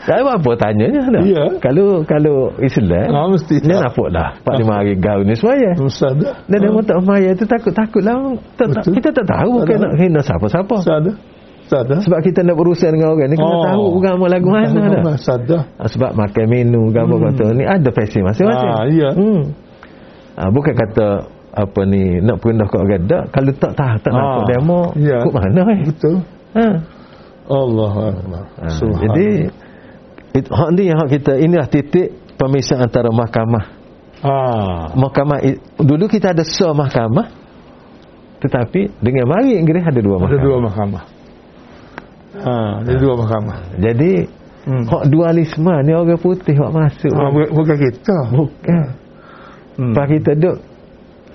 B: Tak apa apa tanyanya dah.
C: Ya.
B: Kalau kalau Islam,
C: Ah, mesti. Hmm.
B: dia nampak lah. 45 hari gaul ni semaya.
C: Musada.
B: Dan dia mahu tak semaya tu takut-takut lah. Tak, tak,
C: Betul.
B: kita tak tahu
C: Tak
B: bukan
C: tahu.
B: nak hina siapa-siapa.
C: Sada. Sada.
B: Sebab kita nak berurusan dengan orang ni, kena
C: Oh.
B: tahu agama lagu mana dah.
C: Sada.
B: Ah, Sebab makan menu agama
C: Hmm.
B: hmm. kata ni ada pesen masing-masing.
C: Ah, ya.
B: Hmm. Ah, bukan kata apa ni nak perindah kat orang tak. Kalau tak tahu, tak
C: Ah,
B: nampak demo,
C: ya.
B: kok mana eh?
C: Betul.
B: Ha.
C: Allah Allah.
B: Ha, jadi it, hak ni hak kita inilah titik pemisah antara mahkamah.
C: ah.
B: Mahkamah i- dulu kita ada se mahkamah tetapi dengan mari Inggeris ada dua
C: Ada
B: mahkamah.
C: dua mahkamah. Ha, ada dua mahkamah.
B: Jadi
C: Hmm.
B: hak dualisme ni orang putih hak masuk.
C: Ha, bukan, bukan kita.
B: Bukan.
C: Hmm.
B: Pas kita duk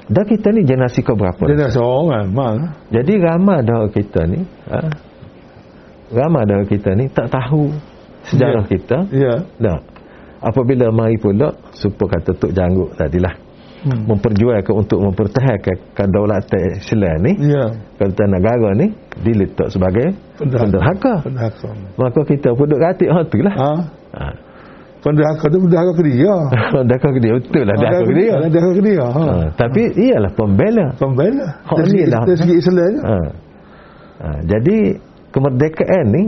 B: dah kita ni generasi ke berapa?
C: Dia dah seorang, mal.
B: Jadi ramai dah orang kita ni ha? ramai dah orang kita ni tak tahu sejarah
C: Ya.
B: kita.
C: Ya.
B: Dah. Apabila mari pula supaya kata Tok Janggut tadilah
C: Hmm.
B: memperjuangkan untuk mempertahankan kedaulatan Islam ni
C: Ya.
B: kedaulatan negara ni diletak sebagai penderhaka
C: Penderhaka.
B: maka kita pun duk katik hak tu lah
C: Ha.
B: ha.
C: Penderhaka tu penderhaka ke dia.
B: pendaka ke dia betul lah
C: Penderhaka
B: pendaka ke dia
C: Penderhaka ke dia. Ha.
B: ha. tapi iyalah pembela
C: Pembela.
B: Hak
C: Dari
B: ni
C: segi-
B: lah.
C: Dari segi Islam je.
B: ha. Ha. jadi kemerdekaan ni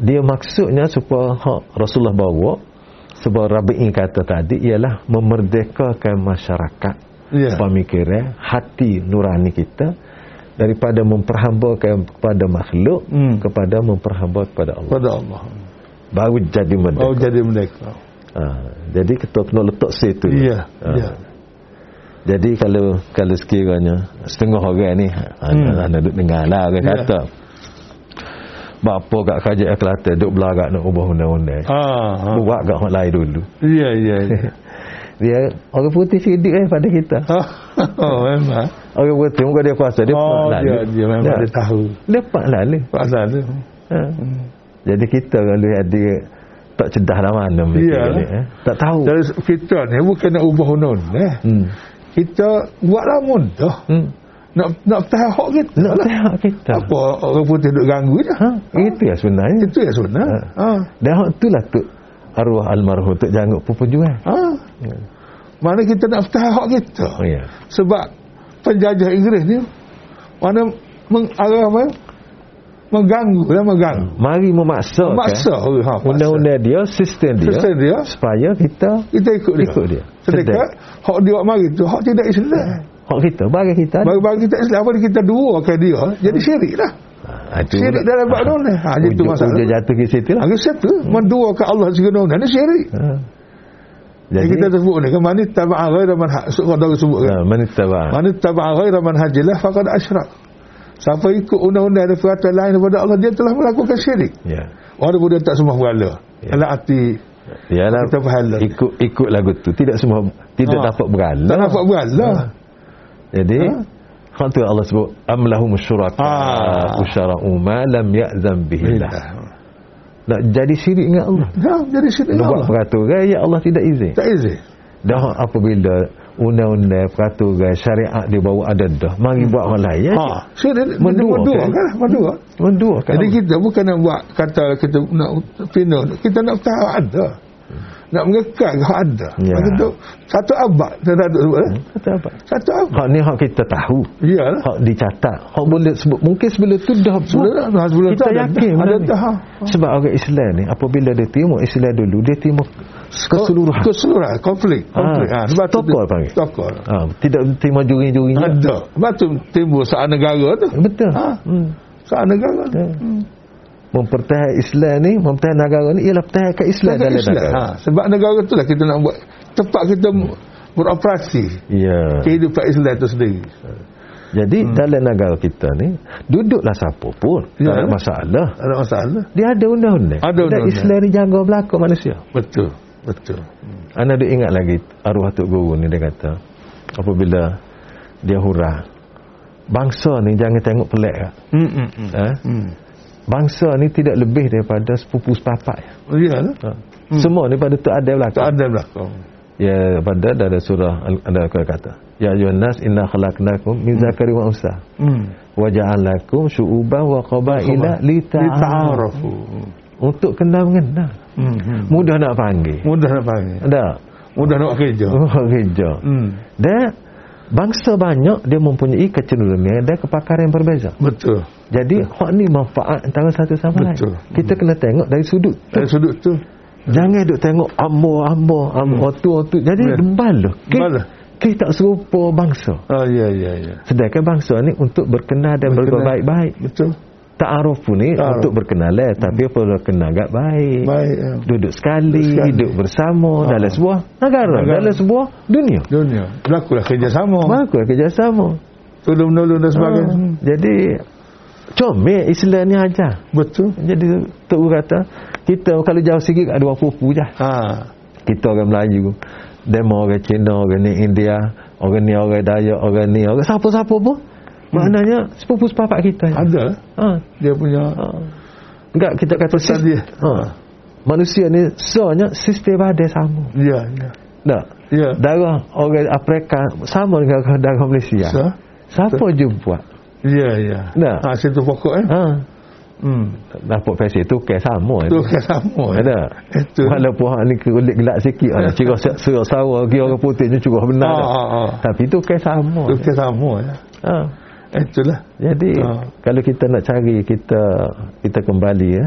B: dia maksudnya supaya hak Rasulullah bawa sebab Rabi'i kata tadi ialah memerdekakan masyarakat
C: Ya.
B: pemikiran eh, hati nurani kita daripada memperhambakan kepada makhluk
C: Hmm.
B: kepada memperhamba kepada Allah
C: Pada Allah.
B: baru jadi merdeka
C: Oh jadi mereka.
B: ha, jadi kita kena letak situ
C: Ya.
B: Ha.
C: Ya.
B: jadi kalau kalau sekiranya setengah orang ni hmm. anak duduk dengar lah orang
C: Ya.
B: kata bapa kat kerajaan Kelantan duduk belagak nak ubah undang-undang
C: Ha. ha.
B: buat kat orang lain dulu
C: Ya, ya, ya.
B: dia orang putih sidik eh pada kita
C: oh, memang.
B: orang putih muka dia kuasa dia
C: oh,
B: pak
C: dia,
B: lalu.
C: dia memang
B: Ya.
C: dia tahu.
B: dia pak lalu
C: Pasal tu.
B: ha.
C: Hmm.
B: Jadi kita kalau ada tak cedah lah mana mereka
C: Iyalah.
B: ni, eh? Tak tahu.
C: Jadi kita ni bukan nak ubah undang-undang. Eh.
B: Hmm.
C: Kita buatlah mudah.
B: Hmm.
C: Nak nak tahan hak kita.
B: Nak
C: lah.
B: tengok kita.
C: Apa orang putih duk ganggu dia.
B: Ha? Itu ya sebenarnya.
C: Itu yang sunnah. Ha.
B: Dan hak tu lah tu arwah almarhum tu janggut pun perjuang.
C: Ha.
B: Ya.
C: Mana kita nak tahan hak kita.
B: Oh ya.
C: Sebab penjajah Inggeris ni mana meng, apa, Mengganggu lah mengganggu.
B: Mari memaksakan
C: Maksa. Ha, maksa.
B: undang-undang dia, sistem dia,
C: Sistem dia.
B: supaya kita
C: Kita ikut dia.
B: Ikut dia. Ha.
C: Sedekah, hak dia buat mari tu, hak tidak Islam.
B: hak kita bagi kita.
C: Bagi-bagi kita Islam, apa kita duakan dia, jadi syirik lah.
B: Ha, itu
C: Syirik dalam bab ni. Ha, jadi tu
B: Ujung-
C: masalah.
B: ujung jatuh ke situ lah.
C: Angkat Ha, satu, menduakan Allah segala ni syirik.
B: Ha.
C: Jadi kita sebut ni, kan, mana taba'a ghaira man haq. Surat dah sebut kan.
B: ha, manitaba.
C: Man ittaba'a ghaira manhajilah faqad asyrak. Siapa ikut undang-undang dan peraturan lain daripada Allah dia telah melakukan syirik.
B: Ya.
C: Walaupun dia tak semua berhala.
B: Ya.
C: Dalam hati
B: Ialah
C: Kita pahala.
B: ikut ikut lagu tu. Tidak semua tidak
C: Ha.
B: dapat berhala.
C: tak nampak berhala.
B: Jadi
C: Ha.
B: Hak tu Allah sebut am lahum syuraka
C: Ah.
B: usyara'u ma lam ya'zam bihi
C: Bila.
B: lah. Nak jadi syirik dengan Allah.
C: Ha, jadi syirik
B: Nak buat
C: Allah.
B: peraturan yang Allah tidak izin.
C: Tak izin.
B: Dah apabila undang-undang peraturan syariat dia bawa ada dah. Mari buat orang lain. Ya?
C: Ha, syirik
B: Mendua,
C: mendua
B: kan?
C: kan? Mendua.
B: Mendua kan.
C: Jadi kita bukan nak buat kata kita nak pina, kita nak tahu ada. Nak mengekang hak ada.
B: Ya.
C: Maka tu satu abad dia dah duduk eh?
B: kata apa?
C: Satu abad.
B: Hak ni hak kita tahu.
C: Iyalah.
B: Hak dicatat. Hak Ha. boleh sebut. Mungkin sebelum tu dah
C: Sebelum dah sebelum
B: kita
C: tu ada
B: yakin
C: kan? ada
B: benda ni.
C: dah.
B: Sebab orang Islam ni apabila dia terima Islam dulu dia terima keseluruhan.
C: Keseluruhan konflik, konflik.
B: Ha,
C: Ha, sebab tu
B: tokol panggil.
C: Tokol.
B: Ha, tidak terima juri-jurinya.
C: Ada. Sebab tu timbul saat negara tu.
B: Betul.
C: Ha.
B: Hmm.
C: Saat negara tu.
B: Ya. Mempertahankan Islam ni, mempertahankan negara ni ialah pertahankan Islam
C: Negara
B: dalam
C: Islam.
B: negara.
C: Ha, sebab negara tu lah kita nak buat tempat kita
B: Hmm.
C: beroperasi
B: Ya.
C: kehidupan Islam tu sendiri.
B: Jadi dalam negara kita ni duduklah siapa pun
C: Hmm. Ya.
B: tak ada masalah.
C: Tak Ada masalah.
B: Dia ada undang-undang.
C: Ada
B: Dan
C: undang-undang.
B: Islam ni jaga belakang manusia.
C: Betul. Betul.
B: Ana duk ingat lagi arwah Tok Guru ni dia kata apabila dia hurah bangsa ni jangan tengok pelik lah.
C: Hmm, hmm, hmm.
B: ha?
C: Hmm.
B: bangsa ni tidak lebih daripada sepupu sepapak ya.
C: Iyalah.
B: ha?
C: Hmm.
B: semua ni pada tu ada
C: Tak
B: belakang
C: ada belakang.
B: ya pada ada surah Al- ada kata kata ya ayuhan nas inna khalaqnakum min zakari wa unsa
C: Hmm.
B: wa ja'alnakum syu'uban wa qabaila lita'aruf
C: Lita'arafu.
B: untuk kenal mengenal
C: Hmm. hmm.
B: mudah nak panggil
C: Mudah nak panggil.
B: ada
C: Mudah nak buat kerja.
B: oh, kerja
C: Hmm.
B: Dan bangsa banyak dia mempunyai kecenderungan dan kepakaran yang berbeza.
C: Betul.
B: Jadi hak ni manfaat antara satu sama lain.
C: Betul. Hmm.
B: Kita kena tengok dari sudut tu.
C: Dari sudut tu.
B: Jangan duk tengok ambo ambo
C: Hmm.
B: ambo tu tu. Jadi
C: Ya.
B: dembal lah.
C: Dembal.
B: Kita tak serupa bangsa.
C: Ah, ya, ya, ya.
B: Sedangkan bangsa ni untuk berkenal dan
C: Berkenal.
B: berbuat baik-baik.
C: Betul.
B: Ta'aruf pun ni
C: Ta'aruf. Hmm.
B: untuk berkenalan tapi perlu kenal agak baik.
C: Baik. Ya.
B: Duduk sekali,
C: Duduk sekali.
B: duduk bersama
C: Ha.
B: dalam sebuah negara,
C: Negara. Hmm.
B: dalam sebuah dunia.
C: Dunia. Berlakulah kerjasama.
B: Bagus kerjasama.
C: Tolong-menolong dan sebagainya.
B: Ah, Jadi comel Islam ni ajar.
C: Betul.
B: Jadi Tok Guru kata kita kalau jauh sikit ada orang pupu je.
C: Ha.
B: Kita orang Melayu, demo orang Cina, orang ni India, orang ni orang Dayak, orang ni orang siapa-siapa pun. Maknanya sepupu sepapak kita. je.
C: Hmm. Ada.
B: Ha.
C: Dia punya.
B: ha. Enggak kita kata
C: Pesan
B: sis-
C: dia.
B: Ha. Manusia ni sebenarnya sistem badan sama.
C: Ya, ya.
B: Tak.
C: Ya.
B: Darah orang Afrika sama dengan darah Malaysia.
C: So,
B: Siapa je buat?
C: Ya, ya.
B: Nah.
C: Ha, situ pokok eh.
B: Ha.
C: Hmm.
B: Dapat pesen tu ke sama
C: Tu kerjasama. eh.
B: Ada.
C: Itu.
B: Walaupun hak ni kulit gelap sikit ah. Cirah sa- surah sawah gi orang putih ni curah benar.
C: Ah,
B: dah.
C: ah, ah.
B: Tapi tu kan sama.
C: Tu kerjasama. Ya.
B: Ha.
C: Itulah.
B: Jadi
C: Ah.
B: kalau kita nak cari kita kita kembali ya.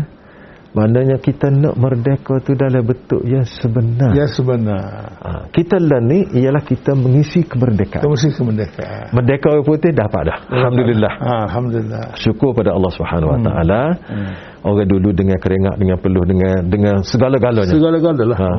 B: Maknanya kita nak merdeka tu dalam bentuk yang sebenar.
C: Ya sebenar.
B: Ha. Kita lah ni ialah kita mengisi
C: Kita
B: kemerdekaan.
C: mesti kemerdekaan.
B: Merdeka orang putih dapat dah. Alhamdulillah.
C: Ha, Alhamdulillah.
B: syukur pada Allah Subhanahu Wa Taala.
C: Hmm.
B: Orang dulu dengan keringat, dengan peluh, dengan dengan segala-galanya.
C: Segala-galalah.
B: Ha.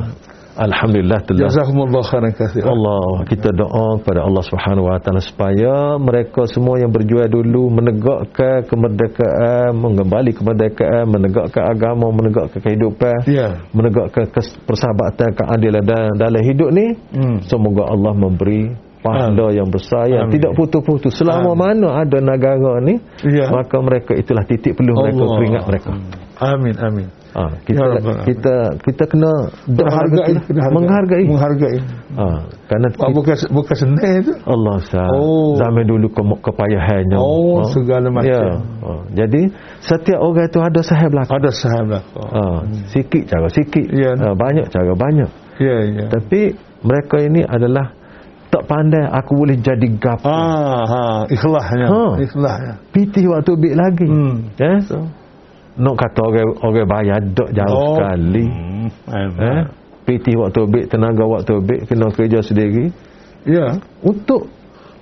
B: Alhamdulillah telah
C: lah. Jazakumullah khairan katsir.
B: Allah kita doa kepada Allah Subhanahu Wa Taala supaya mereka semua yang berjuang dulu menegakkan kemerdekaan, mengembali kemerdekaan, menegakkan agama, menegakkan kehidupan,
C: Ya.
B: menegakkan kes- persahabatan, keadilan dan dalam hidup ni
C: Hmm.
B: semoga Allah memberi pahala yang besar yang
C: Amin.
B: tidak putus-putus selama
C: Amin.
B: mana ada negara ni
C: Ya.
B: maka mereka itulah titik peluh mereka
C: Allah.
B: keringat mereka
C: Amin amin.
B: ha, kita
C: Ya Rabbal Alamin.
B: kita kita kena dah
C: Menghargai,
B: harga tu lah. menghargai
C: Menghargai.
B: ha, kerana
C: Ah,
B: kita,
C: bukan bukan senang itu.
B: Allah sah
C: Oh.
B: zaman dulu ke, kepayahannya
C: Oh, segala macam.
B: ya. ha. jadi setiap orang tu ada sahib belakang
C: Ada lah sahabat belakang.
B: ha. sikit cara sikit
C: Hmm. Ya.
B: ha, banyak cara banyak
C: Ya ya.
B: tapi mereka ini adalah tak pandai aku boleh jadi gapo. Ha.
C: Ah, ha, ikhlasnya.
B: Ha.
C: Ikhlasnya.
B: Pitih waktu bit lagi.
C: Hmm.
B: Eh? So, nak kata orang orang bayar dok jauh oh. sekali.
C: Hmm.
B: Eh?
C: Eh?
B: Pitih waktu bit tenaga waktu bit kena kerja sendiri.
C: Ya.
B: Untuk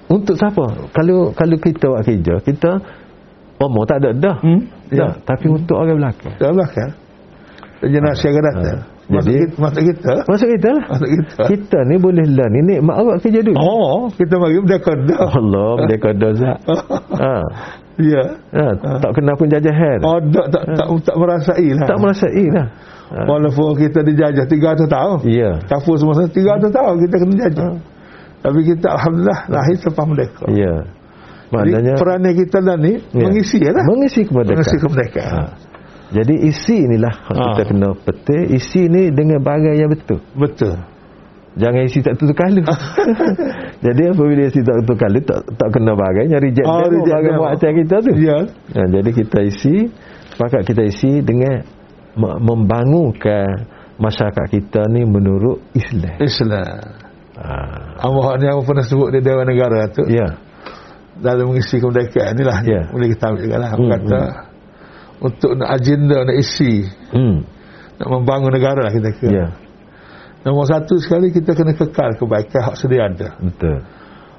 B: untuk siapa? Kalau kalau kita buat kerja, kita umur tak ada dah.
C: Hmm.
B: Dah,
C: Ya.
B: tapi untuk orang belakang.
C: Dah belakang. Dan jenazah ke datang.
B: Ha.
C: Masuk
B: Jadi-
C: kita. Masuk kita.
B: Masuk kita lah.
C: Masuk kita.
B: Kita ni boleh learn ni nikmat awak kerja dulu.
C: Oh, kita bagi merdeka dah.
B: Allah, dia kata Zat. ha.
C: Ya.
B: ha. Tak kena pun jajahan.
C: Oh, tak tak tak, tak merasai lah.
B: Tak merasai lah. Ha.
C: Walaupun kita dijajah 300 tahun.
B: Ya. Hmm.
C: Kapur semua sana 300 tahun kita kena jajah. Tapi kita Alhamdulillah lahir selepas merdeka.
B: Ya.
C: Jadi
B: Maknanya
C: perannya kita dah ni
B: ya.
C: mengisi ya lah.
B: Mengisi kemerdekaan.
C: Mengisi kemerdekaan.
B: Ha. Jadi isi inilah ha. kita
C: Ha.
B: kena petik. Isi ni dengan barang yang betul.
C: Betul.
B: Jangan isi tak tentu kala. Jadi apabila isi tak tentu kala tak tak kena barangnya reject
C: Oh,
B: oh, demo
C: reject
B: barang
C: demo.
B: buatan kita tu.
C: Ya.
B: Ha, jadi kita isi sepakat kita isi dengan me- membangunkan masyarakat kita ni menurut Islam.
C: Eh. Islam.
B: Ha.
C: Awak ni awak pernah sebut di Dewan Negara tu.
B: Ya.
C: Dalam mengisi kemerdekaan inilah.
B: Ya.
C: Boleh kita ambil juga lah.
B: Hmm,
C: Hmm, kata untuk nak agenda nak isi
B: Hmm.
C: nak membangun negara lah kita kira.
B: Ya.
C: Nombor satu sekali kita kena kekal kebaikan hak sedia ada.
B: Betul.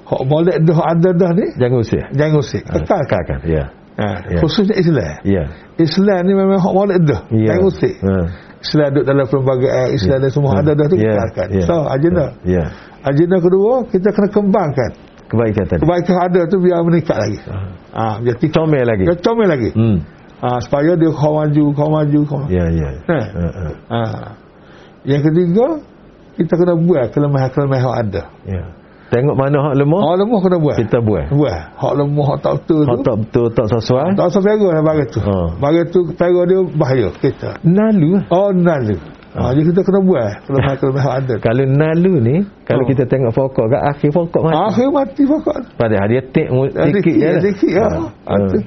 C: Hak molek dah ada dah ni
B: Jangan usik.
C: jangan usik.
B: Ha,
C: Kekal kan.
B: kan. Ya.
C: Ha,
B: Ya.
C: Khususnya Islam.
B: Ya.
C: Islam ni memang hak molek dah.
B: Ya.
C: Jangan usik.
B: Ha.
C: Islam duduk dalam perlembagaan Islam dan semua
B: Ha.
C: ada dah tu
B: Ya.
C: kekalkan.
B: Ya.
C: So agenda.
B: Ya.
C: Agenda kedua kita kena kembangkan.
B: Kebaikan tadi.
C: Kebaikan ada tu biar meningkat lagi. Ah, ha, biar tiga
B: Comel lagi.
C: Dia comel lagi.
B: Hmm.
C: Ha, supaya dia kau maju, kau maju, kau maju.
B: Ya, ya.
C: Ha.
B: Ha, ha.
C: Ha. Yang ketiga, kita kena buat kelemahan-kelemahan yang ada.
B: Ya. Tengok mana hak lemah,
C: Hak lemah kena buat.
B: kita buat.
C: buat. Hak lemah, hak tak Oh. betul
B: Hak
C: tu.
B: tak betul, tak sesuai.
C: Tak usah perah lah barang tu.
B: Ha.
C: Barang tu, perah dia bahaya kita.
B: Nalu. lah.
C: Oh, nalu.
B: Ha.
C: Ha. Jadi kita kena buat kelemahan-kelemahan yang ada.
B: Kalau nalu ni, kalau
C: Oh.
B: kita tengok pokok, kat akhir pokok mati.
C: Akhir mati pokok.
B: Padahal dia tik mu-
C: Sikit,
B: sikit je lah.
C: sikit. Ya.
B: Ha.
C: Ha. tu.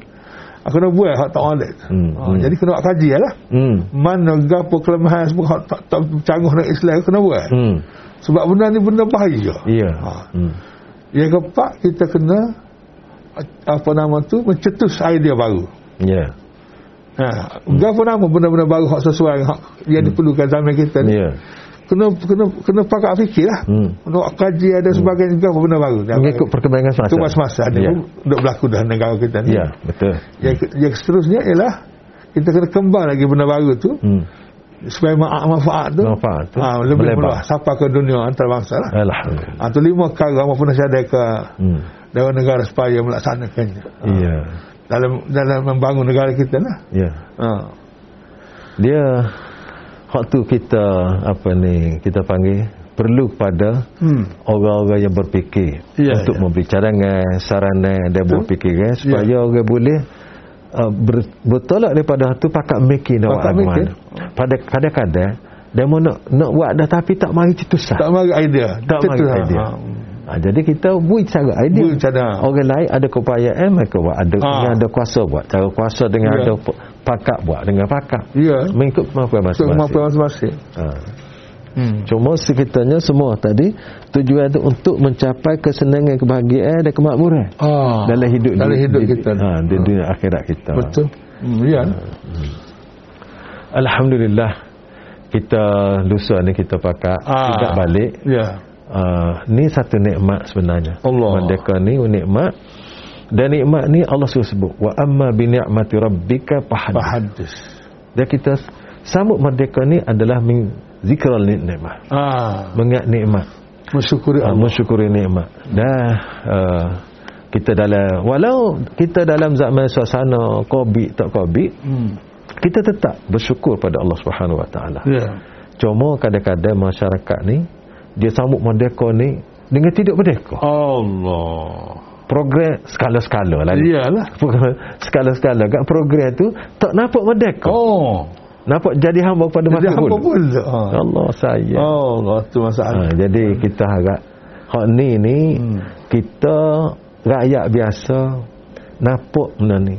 C: Aku kena buat hak tak boleh.
B: Hmm,
C: Ha.
B: hmm.
C: Jadi kena buat kajian lah.
B: Hmm.
C: Mana gapo kelemahan semua hak tak, tak cangguh dengan Islam kena buat.
B: Hmm.
C: Sebab benda ni benda bahaya.
B: Ya.
C: Ha.
B: Hmm.
C: Yang keempat kita kena apa nama tu mencetus idea baru.
B: Ya.
C: Ha, hmm. apa nama benda-benda baru hak sesuai dengan hak yang diperlukan zaman kita ni.
B: Hmm. Ya.
C: Kena kena kena pakak fikirlah.
B: Hmm.
C: Nak kaji ada sebagainya hmm. apa benda baru.
B: Mengikut perkembangan semasa.
C: Itu masa-masa ada
B: Ya.
C: pun duk berlaku dalam negara kita ni.
B: Ya, betul.
C: Yang, yang seterusnya ialah kita kena kembang lagi benda baru tu
B: Hmm.
C: supaya ma- manfaat tu,
B: Manfaat tu
C: ha, lebih
B: melebar. Ya.
C: meluas sampai ke dunia antarabangsa lah.
B: Alhamdulillah.
C: Ha, tu lima perkara maupun nasihat ke
B: Hmm.
C: Dewan Negara supaya melaksanakannya
B: Ya.
C: dalam dalam membangun negara kita lah.
B: Ya.
C: Ha.
B: Dia waktu kita apa ni, kita panggil perlu pada
C: Hmm.
B: orang-orang yang berfikir
C: Ya,
B: untuk
C: ya.
B: memberi cadangan, sarana dan
C: Betul. Ya.
B: berfikiran supaya orang boleh uh, ber, bertolak daripada tu pakat mikir nak buat
C: Pakat
B: lagu
C: mikir.
B: mana. Pada kadang-kadang dia mau nak nak buat dah tapi tak mari cetusah.
C: Tak mari idea.
B: tak
C: Macam
B: mari
C: tu lah.
B: idea.
C: Ha.
B: Ha, jadi kita buat cara idea.
C: Buat cara.
B: Orang lain ada keupayaan mereka buat, ada
C: Ha.
B: dengan ada kuasa buat, cara kuasa dengan
C: Ya.
B: ada p- pakat buat dengan pakat.
C: Ya.
B: Mengikut kemampuan
C: Untuk kemampuan
B: masing-masing.
C: masing-masing.
B: Ha.
C: Hmm.
B: Cuma sekitanya semua tadi tujuan itu untuk mencapai kesenangan, kebahagiaan dan kemakmuran
C: Ah.
B: dalam hidup
C: dalam
B: di-
C: hidup
B: di-
C: kita.
B: Ha, di dunia akhirat kita.
C: Betul. Hmm, ya.
B: Alhamdulillah kita lusa ni kita pakai
C: Ah.
B: tidak balik.
C: Ya.
B: Uh, ni satu nikmat sebenarnya.
C: Allah.
B: Merdeka ni nikmat. Dan nikmat ni Allah suruh sebut wa amma bi ni'mati rabbika fahadith.
C: Bahadis.
B: Dan kita sambut merdeka ni adalah min zikral nikmat.
C: Ah.
B: Mengat nikmat.
C: Mensyukuri
B: uh,
C: Ya Allah.
B: mensyukuri nikmat. Dah uh, kita dalam walau kita dalam zaman suasana Covid tak Covid,
C: Hmm.
B: kita tetap bersyukur pada Allah Subhanahu Wa Taala.
C: Ya.
B: Cuma kadang-kadang masyarakat ni dia sambut merdeka ni dengan tidak merdeka.
C: Allah.
B: Program skala-skala lah. ni.
C: Iyalah.
B: skala-skala kat program tu tak nampak merdeka.
C: Oh.
B: Nampak jadi hamba pada
C: Jadi
B: masa
C: apa
B: pula.
C: pun. Oh. Ha.
B: Allah saya.
C: Allah Ah, ya. tu
B: Ha,
C: masalah.
B: jadi kita harap hak ni ni hmm.
C: Hmm.
B: kita rakyat biasa nampak benda ni.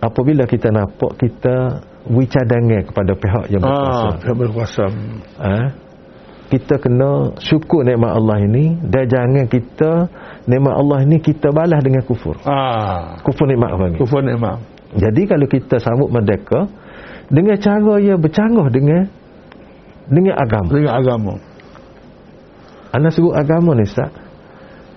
B: Apabila kita nampak kita beri cadangan kepada pihak yang berkuasa.
C: Ah, berkuasa.
B: Ha? kita kena syukur nikmat Allah ini dan jangan kita nikmat Allah ini kita balas dengan kufur.
C: Ah,
B: Kufur nikmat apa ni?
C: kufur nikmat.
B: Jadi kalau kita sambut merdeka dengan cara ia bercanggah dengan dengan agama.
C: Dengan agama.
B: Anda sebut agama ni Ustaz.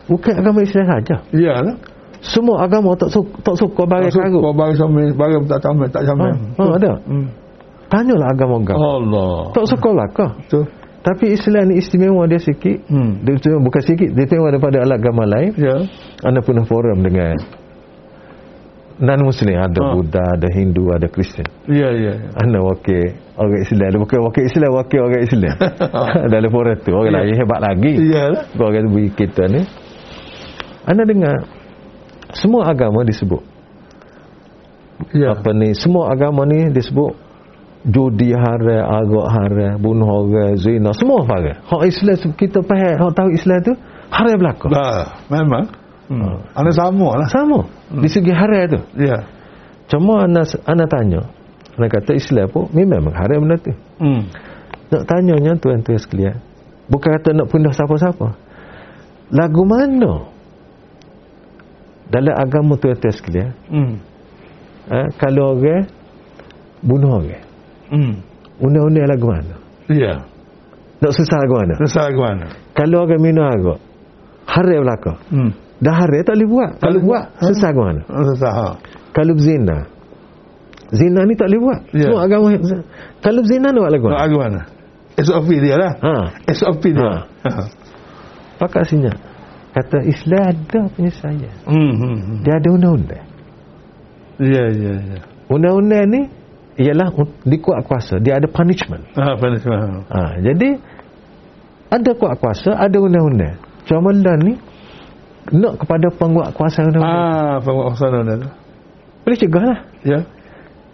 B: Bukan agama Islam saja.
C: Iyalah.
B: Semua agama tak suka, tak suka barang karut.
C: lah. Kau bagi sama bagi tak sama tak sama.
B: Ha, ha, ada.
C: Hmm.
B: Tanyalah agama-agama.
C: Allah.
B: Tak suka lah kah?
C: Ya. Tu.
B: Tapi Islam ni istimewa dia sikit.
C: Hmm.
B: Dia istimewa, bukan sikit, dia istimewa daripada alat agama lain.
C: Ya.
B: Anda pernah forum dengan non muslim ada
C: Ha.
B: Buddha, ada Hindu, ada Kristian.
C: Ya ya. ya.
B: Anda wakil orang Islam, dia bukan wakil Islam, wakil orang Islam. Dalam forum tu orang
C: Ya.
B: lain hebat lagi.
C: Iyalah.
B: Orang beri kita ni. Anda dengar semua agama disebut.
C: Ya.
B: Apa ni? Semua agama ni disebut judi haram, arak haram, bunuh orang, zina, semua haram. Hak Islam kita faham, hak tahu Islam tu haram berlaku.
C: Dah. Lah, Memang. Hmm.
B: Ah.
C: Ana sama lah.
B: Sama. Di segi haram tu.
C: Ya.
B: Cuma anak anak tanya. Anak kata Islam pun memang haram benda tu.
C: Hmm.
B: Nak tanyanya tuan-tuan sekalian. Bukan kata nak pindah siapa-siapa. Lagu mana? Dalam agama tuan-tuan sekalian.
C: Hmm.
B: Ha, kalau orang bunuh orang.
C: Hmm.
B: Undang-undang lagu mana?
C: Ya.
B: Nak susah lagu mana?
C: Rasa ke mana?
B: Kalau orang minum arak. Haram belakang.
C: Hmm.
B: Dah haram tak boleh buat. Kalau
C: Kalau
B: buat,
C: buat, ha?
B: susah lagu mana?
C: Rasa ha.
B: Kalau berzina. Zina ni tak boleh buat.
C: Ya.
B: Semua agama. Kalau berzina ni buat lagu mana?
C: Nak ke mana? SOP dia lah.
B: Ha.
C: SOP dia.
B: Ah.
C: Ha.
B: Pakat senyap. Kata Islam ada punya saya.
C: Hmm. hmm, hmm.
B: Dia ada undang-undang.
C: Ya ya ya.
B: Undang-undang ni ialah un- dikuat kuasa. Dia ada punishment.
C: Ha panas faham.
B: Ha, jadi ada kuat kuasa, ada undang-undang. Cuma lah ni nak kepada penguat kuasa undang-undang.
C: Ah, penguasaan dah. tu.
B: Boleh cegah lah.
C: Ya.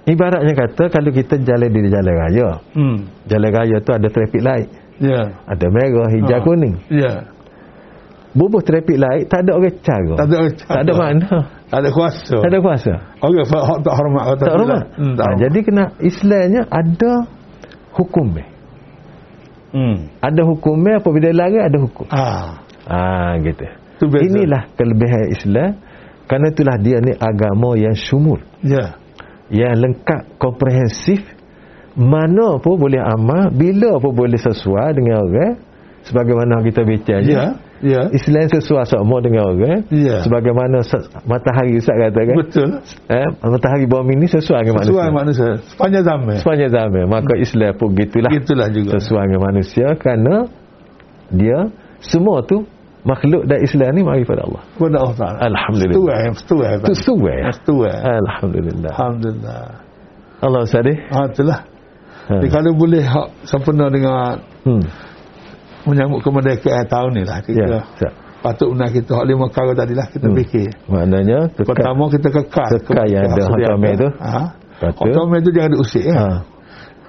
B: Ibaratnya kata kalau kita jalan di jalan raya.
C: Hmm.
B: Jalan raya tu ada traffic light.
C: Ya.
B: Ada merah, hijau,
C: Ha.
B: kuning.
C: Ya.
B: Bubuh traffic light tak ada orang cara.
C: Tak ada
B: tak ada mana.
C: Tak ada kuasa.
B: Tak ada kuasa.
C: Orang fa- hak tak hormat kata
B: tak hormat.
C: Hmm, tak
B: ha,
C: hormat.
B: jadi kena Islamnya ada hukum eh.
C: Hmm.
B: Ada hukum eh apabila larang ada hukum.
C: Ah.
B: Ah ha, gitu.
C: Tu beza.
B: Inilah kelebihan Islam. Kerana itulah dia ni agama yang syumul,
C: Ya.
B: yang lengkap, komprehensif. Mana pun boleh amal, bila pun boleh sesuai dengan orang sebagaimana kita bicara
C: Ya.
B: je.
C: Ya.
B: Islam sesuai sama dengan orang
C: Ya.
B: sebagaimana se- matahari Ustaz kata kan.
C: Betul.
B: Eh, matahari bumi ni sesuai dengan
C: Sesuai
B: manusia.
C: manusia. Hmm. Sepanjang zaman.
B: Sepanjang zaman Maka Islam pun gitulah
C: Itulah juga.
B: Sesuai dengan manusia Kerana Dia Semua tu Makhluk dan Islam ni Mari pada Allah
C: Kepada Allah Ta'ala.
B: Alhamdulillah.
C: Setuai. Setuai. Pak.
B: Itu sesuai
C: Setuai.
B: Eh, Alhamdulillah
C: Alhamdulillah.
B: Allah Ustaz eh?
C: Ha, itulah.
B: ha.
C: Jadi kalau boleh hak sempena dengan
B: hmm.
C: menyambut kemerdekaan tahun ni lah. Kita
B: Ya Ustaz
C: patut benar kita hak lima perkara tadi lah kita
B: Hmm.
C: fikir.
B: Maknanya Kekal
C: Pertama kita kekal.
B: Kekal yang ada hak tamai tu.
C: Ha.
B: Lepas tu-
C: Hak tamai tu jangan diusik. Ya.
B: ha.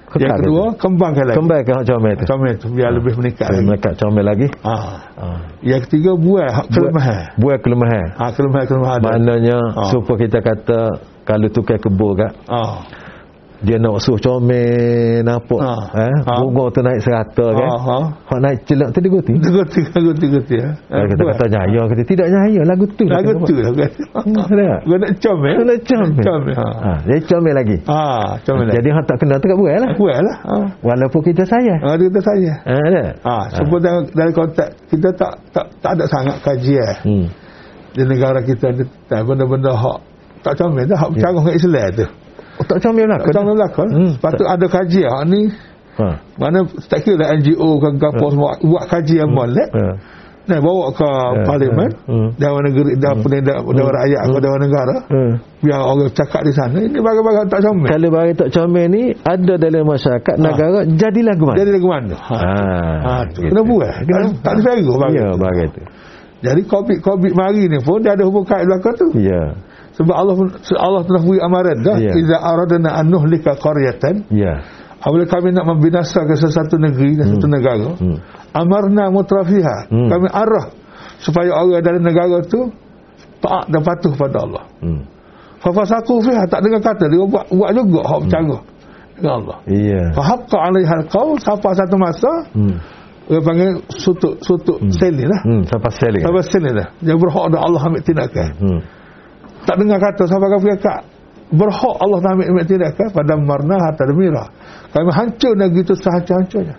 B: Kekal
C: Yang kedua, kembangkan lagi.
B: Kembangkan Ha. hak comel ah, tu
C: Comel tu biar lebih meningkat
B: Boleh
C: lagi.
B: melekat comel lagi
C: Ha.
B: ha.
C: Yang ketiga, buat hak kelemahan.
B: Buat kelemahan
C: Ha, kelemahan-kelemahan ada.
B: Maknanya
C: Ha.
B: Supaya kita kata Kalau tukar kebur kat
C: Ha.
B: dia nak suruh comel nampak
C: Ha.
B: eh
C: Ha.
B: bunga tu naik serata kan
C: Ha, ha.
B: hak naik celak tu dia guti
C: Tiga, tiga, tiga, tiga.
B: kalau kita kata nyaya kata tidak nyaya lagu tu lah
C: Lagu
B: kata,
C: tu
B: Pak.
C: eh. lah. kan.
B: Hmm, sedap.
C: Kau nak eh? comel.
B: Kau nak comel
C: Comel. Ha.
B: ha. dia comel lagi
C: Ha, comel lah.
B: jadi hak tak kena tu kat buai lah
C: Buat lah. Ha.
B: walaupun kita sayang
C: Ha, dia kata saya.
B: ha, ada
C: Ha, sebab ha. dari kontak kita tak tak tak ada sangat kajian
B: hmm.
C: di negara kita ni tentang benda-benda hak tak comel dah hak bercanggah dengan Islam tu.
B: oh, tak comel lah
C: Tak comel lah kan.
B: Ya. Hmm,
C: Patut ada kajian hak ni
B: ha.
C: Mana tak kira lah NGO ke apa
B: Ha.
C: semua buat kajian hmm. molek.
B: ha.
C: Nah bawa ke parlimen,
B: Ya, Hmm.
C: Dewan negeri, Dewan pendidik, Dewan rakyat atau Dewan negara.
B: Ha.
C: Biar orang cakap di sana ini barang-barang tak comel.
B: kalau barang tak comel ni ada dalam masyarakat negara jadilah Ah, guman
C: Jadi lagu mana? Ha. Ha, tu. Kena buat. Kena, tak ada fair barang.
B: ya
C: tu.
B: barang tu
C: Jadi COVID-COVID mari ni pun dia ada hubung kait belakang tu.
B: ya
C: Sebab Allah pun- Allah telah beri amaran dah.
B: Ya.
C: Iza aradna an nuhlika qaryatan
B: ya
C: Apabila kami nak membinasakan sesuatu negeri dan satu negara,
B: Hmm.
C: amarna mutrafiha.
B: Hmm.
C: Kami arah supaya orang dari negara tu taat dan patuh pada Allah.
B: hmm.
C: Fafasaku fiha tak dengar kata dia buat buat juga hak bercanggah dengan Allah.
B: ya
C: Fahaqqa alaiha alqaul siapa satu masa
B: hmm.
C: Orang panggil sutuk sutuk hmm. selir lah.
B: Hmm, siapa selling?
C: Sahabat selir lah. Yang berhak dah Allah ambil tindakan.
B: Hmm.
C: Tak dengar kata sahabat kafir kak. Berhak Allah nak ambil, ambil tindakan pada marna hatta demira. Kami hancur negeri itu sehancur-hancurnya.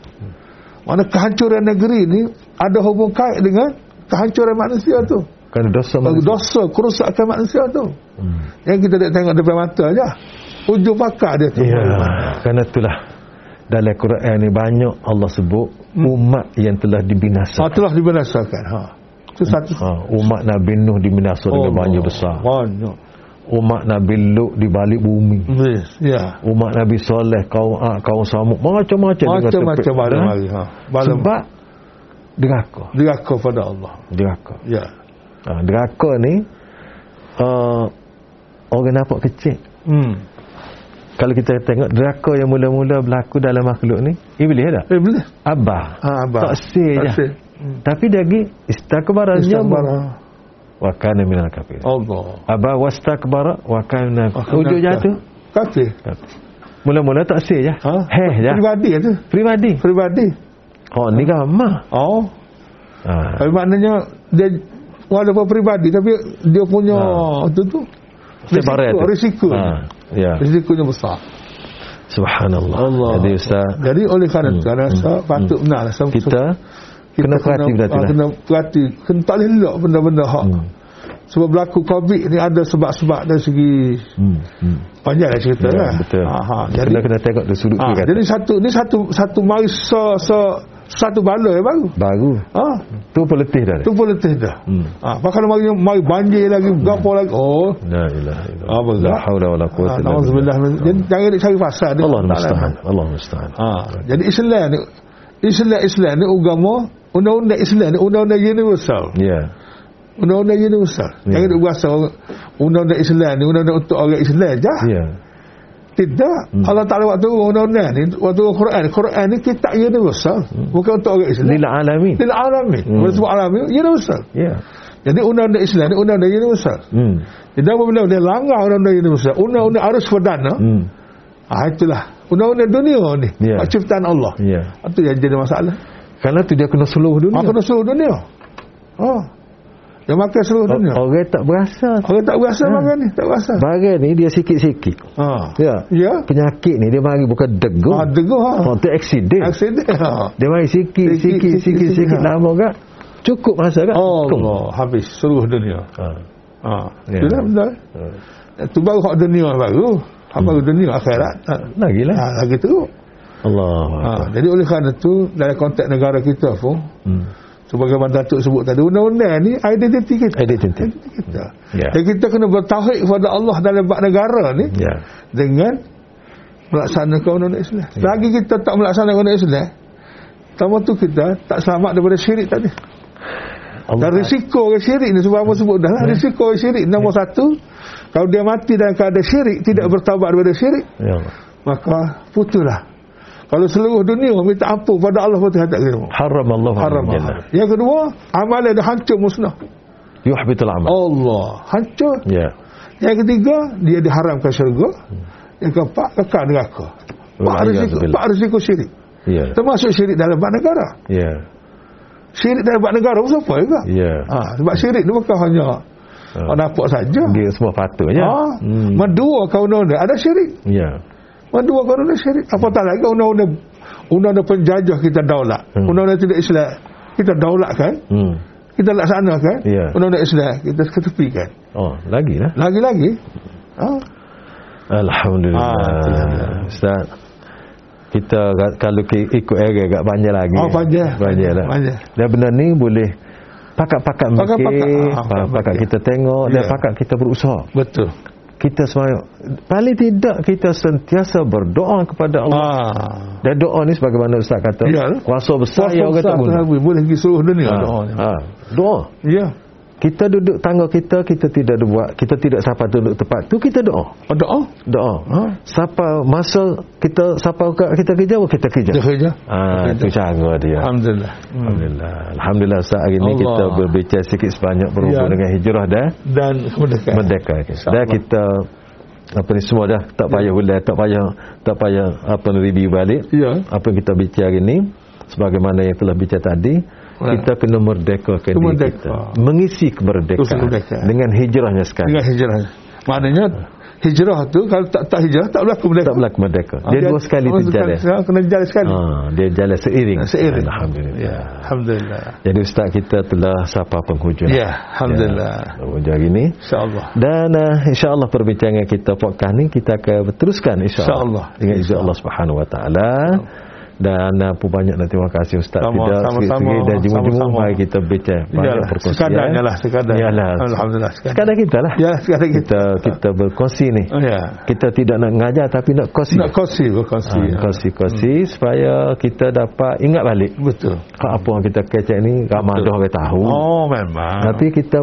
C: Mana kehancuran negeri ni ada hubung kait dengan kehancuran manusia tu.
B: Kerana dosa manusia.
C: Manusia. Dosa kerusakan manusia tu.
B: Hmm.
C: Yang kita tak tengok depan mata aja. Ujung pakar dia tu.
B: Ya, kerana itulah dalam Quran ni banyak Allah sebut
C: Hmm.
B: umat yang telah dibinasakan.
C: Satulah dibinasakan. Ha. Itu satu.
B: Ha, umat Nabi Nuh dibinasakan dengan banjir besar.
C: Banyak.
B: Umat Nabi Lut di balik bumi.
C: Yes. Ya.
B: Umat Nabi Soleh, kaum Ad, kaum Samud, macam-macam dia kata
C: Macam-macam
B: pe-
C: malam
B: ha?
C: hari. Ha. Malam
B: Sebab deraka.
C: diraka pada Allah.
B: Deraka.
C: Ya.
B: Ha, deraka ni uh, orang nampak kecil.
C: Hmm.
B: Kalau kita tengok deraka yang mula-mula berlaku dalam makhluk ni, iblis tak?
C: Eh, boleh.
B: Abah.
C: Ha, abang.
B: Taksir je.
C: Taksir.
B: Tapi lagi istakbara
C: Istakbara.
B: jamu wa kana minal kafirin.
C: Allah.
B: Aba wastakbara wa kana
C: Wah,
B: ujung
C: kenapa?
B: jatuh.
C: Kafir.
B: Mula-mula taksir je.
C: Ha?
B: Heh je.
C: Peribadi tu.
B: Peribadi.
C: Peribadi. Ha,
B: Oh ni gamah.
C: Oh.
B: Ha.
C: Tapi maknanya dia walaupun peribadi tapi dia punya
B: Ha.
C: tu tu.
B: Sebarat
C: Risiko,
B: tu.
C: risiko.
B: Ha. Ya.
C: Risikonya besar.
B: Subhanallah.
C: Allah.
B: Jadi ustaz
C: Jadi oleh kerana
B: Hmm,
C: hmm. kerana
B: hmm,
C: hmm. patut benar lah. Sem-
B: kita
C: kita
B: kena perhati
C: kena,
B: berarti
C: ah,
B: lah.
C: kena perhati. Kena tak boleh elak benda-benda hak.
B: Hmm.
C: Hmm. Sebab berlaku COVID ni ada sebab-sebab dari segi
B: Hmm. hmm.
C: panjang lah cerita
B: Ya,
C: lah.
B: betul.
C: Ha, ha. Jadi,
B: Kena kena tengok tu sudut
C: ha,
B: tu kata.
C: jadi satu ni satu satu mari se, se, satu bala yang baru.
B: Baru
C: Ha,
B: tu pun letih dah.
C: tu pun letih dah.
B: Hmm.
C: Ha, pasal kalau mari, mari banjir lagi, hmm. gapo lagi. Oh,
B: La ilaha illallah.
C: Apa
B: La
C: tak?
B: haula wala
C: ha,
B: quwwata illa
C: na'udzubillah. Jadi jangan nak cari pasal. dia.
B: Allah
C: Tak lah.
B: musta'an. Allah musta'an.
C: Ha. Jadi Islam ni Islam Islam ni agama undang-undang Islam ni undang-undang universal.
B: Ya.
C: Undang-undang universal.
B: Ya.
C: Jangan duk berasa orang- undang-undang Islam ni undang-undang untuk orang Islam je.
B: Ya.
C: Tidak.
B: Hmm.
C: Allah Taala waktu turun undang-undang ni waktu turun Quran, Quran ni kitab universal, bukan untuk orang Islam.
B: Lil alamin.
C: Ah. Lil alamin.
B: Hmm.
C: Hmm. Sebab alamin universal.
B: Ya.
C: Jadi undang-undang Islam ni undang-undang universal.
B: Hmm.
C: Jadi apabila dia langgar undang-undang universal, undang-undang arus perdana,
B: Hmm.
C: ah itulah undang-undang dunia ni.
B: Ya.
C: Hak Ciptaan Allah.
B: Ya.
C: Itu yang jadi masalah.
B: Kerana tu dia kena seluruh dunia.
C: Ah, kena seluruh dunia. Ha. Dia makan seluruh dunia.
B: O- Orang tak berasa.
C: Orang tak berasa
B: Ha.
C: makan ni, tak berasa.
B: Barang ni dia sikit-sikit.
C: Ha.
B: Ya.
C: Ya.
B: Penyakit ni dia mari bukan deguh.
C: Ha, dengar.
B: Oh,
C: Ha.
B: tu accident.
C: Aksiden. Ha.
B: Dia mari sikit, sikit,
C: Sikit, sikit,
B: sikit, sikit
C: sikit, ha.
B: lama kan? Cukup masa kan?
C: Allah, habis seluruh dunia.
B: Ha.
C: Ha.
B: Ya.
C: Itulah betul.
B: Ha.
C: Itu baru hak dunia baru. Hak
B: Hmm.
C: baru dunia akhirat. Ha.
B: Lagilah.
C: ha. lagi teruk.
B: Allah.
C: Ha. Jadi oleh kerana tu dalam konteks negara kita pun
B: Hmm.
C: sebagaimana Datuk sebut tadi undang-undang ni identiti kita.
B: Identiti.
C: kita.
B: Ya.
C: Jadi kita kena bertauhid kepada Allah dalam bab negara ni.
B: Ya.
C: dengan melaksanakan undang-undang Islam. Selagi kita tak melaksanakan undang-undang Islam, pertama tu kita tak selamat daripada syirik tadi. Dan risiko orang syirik ni sebab apa sebut dah lah. Risiko orang syirik nombor satu, kalau dia mati dalam keadaan syirik, tidak bertaubat daripada syirik,
B: Ya Allah.
C: maka putuslah. Kalau seluruh dunia minta ampun pada Allah SWT tak kira.
B: Haram Allah.
C: Haram. Yang kedua, amalan dah hancur musnah.
B: Yuhbitul amal.
C: Oh. Allah hancur.
B: Ya.
C: Yang ketiga, dia diharamkan syurga. Yang keempat, kekal neraka. Pak
B: Wal'iyadu
C: risiko,
B: billah.
C: pak risiko syirik.
B: Ya.
C: Termasuk syirik dalam bab negara.
B: Ya.
C: Syirik dalam bab negara pun siapa juga.
B: Ya.
C: Ha, sebab syirik ni bukan hanya
B: Ha.
C: ha. nampak saja.
B: Dia semua patut je.
C: Ya. Ha,
B: Hmm.
C: Mendua kau undang-undang ada syirik.
B: Ya.
C: Mendua kau undang syirik. Apatah lagi undang-undang undang-undang penjajah kita daulat.
B: Hmm.
C: Undang-undang tidak Islam kita daulatkan,
B: Hmm.
C: kita laksanakan.
B: Ya.
C: Undang-undang Islam kita ketepikan.
B: Oh, lagilah.
C: Lagi-lagi ha,
B: Alhamdulillah.
C: Ah, alhamdulillah.
B: Ustaz. Kita ra- kalau ki- ikut era agak banyak lagi.
C: Oh, panjang.
B: Banyak Ya. lah.
C: Panjang.
B: Dan benda ni boleh pakat-pakat
C: Pakat-pakat,
B: mikir,
C: ah,
B: pakat, pakat
C: pakat-pakat.
B: kita tengok dan
C: Ya.
B: pakat kita berusaha.
C: betul.
B: Kita semayang. Paling tidak kita sentiasa berdoa kepada Allah.
C: Ah.
B: Dan doa ni sebagaimana Ustaz kata,
C: Iyalah.
B: kuasa besar yang orang
C: besar
B: tak guna.
C: Tuhan boleh pergi seluruh dunia
B: Ha,
C: doa ni.
B: ha. Doa.
C: Ya.
B: Kita duduk tangga kita, kita tidak ada buat, kita tidak sapa duduk tepat. Tu kita doa.
C: Doa.
B: Doa.
C: Ha.
B: Siapa masa kita siapa kat kita kerja, kita kerja.
C: Dia kerja.
B: Ah,
C: Kita
B: tu cara dia.
C: Ya, Alhamdulillah.
B: Alhamdulillah. Alhamdulillah Ustaz hari ni
C: Allah.
B: kita berbicara sikit sebanyak berhubung
C: Ya.
B: dengan hijrah dah
C: Dan kemudian
B: merdeka. Dah
C: InsyaAllah. Ya.
B: kita apa ni semua dah tak payah ulang, tak payah tak payah apa ni review balik.
C: Ya.
B: apa yang kita bicara hari ni sebagaimana yang telah bicara tadi
C: Ya.
B: kita kena merdekakan diri
C: Merdeka.
B: kita mengisi kemerdekaan
C: Kemerdekaan.
B: dengan hijrahnya sekali
C: Dengan hijrah. Maknanya hijrah tu kalau tak tak hijrah tak berlaku
B: Ah.
C: merdeka.
B: tak berlaku merdeka dia dua sekali
C: orang
B: terjalan
C: Ah, sekali- Kena jalan sekali.
B: ha, dia jalan seiring
C: kan? Seiring.
B: Alhamdulillah
C: Ya, alhamdulillah.
B: jadi ustaz kita telah sapa penghujung
C: Ya, alhamdulillah.
B: ya, penghujung hari ini
C: Insya-Allah.
B: Dan uh, insya-Allah perbincangan kita podcast ni kita akan teruskan
C: InsyaAllah.
B: insya-Allah dengan izin Allah Subhanahu wa taala. Dan uh, pun banyak nak terima kasih Ustaz
C: Sama,
B: Fidal
C: sama-sama.
B: sikit-sikit dan jumpa-jumpa
C: Sama-sama.
B: mari kita bicara banyak
C: Iyalah,
B: perkongsian.
C: sekadarnya lah, sekadarnya.
B: Yalah.
C: Alhamdulillah,
B: Sekadar,
C: sekadarnya.
B: kita lah.
C: Ya, sekarang
B: Kita
C: kita.
B: kita berkongsi ni.
C: Oh, ya.
B: Kita tidak nak ngajar tapi nak kongsi.
C: Nak kongsi, berkongsi.
B: Ha, kongsi-kongsi supaya kita dapat ingat balik.
C: Hmm. Betul.
B: Kak apa yang kita kecek ni ramai dah orang tahu.
C: Oh, memang.
B: Tapi kita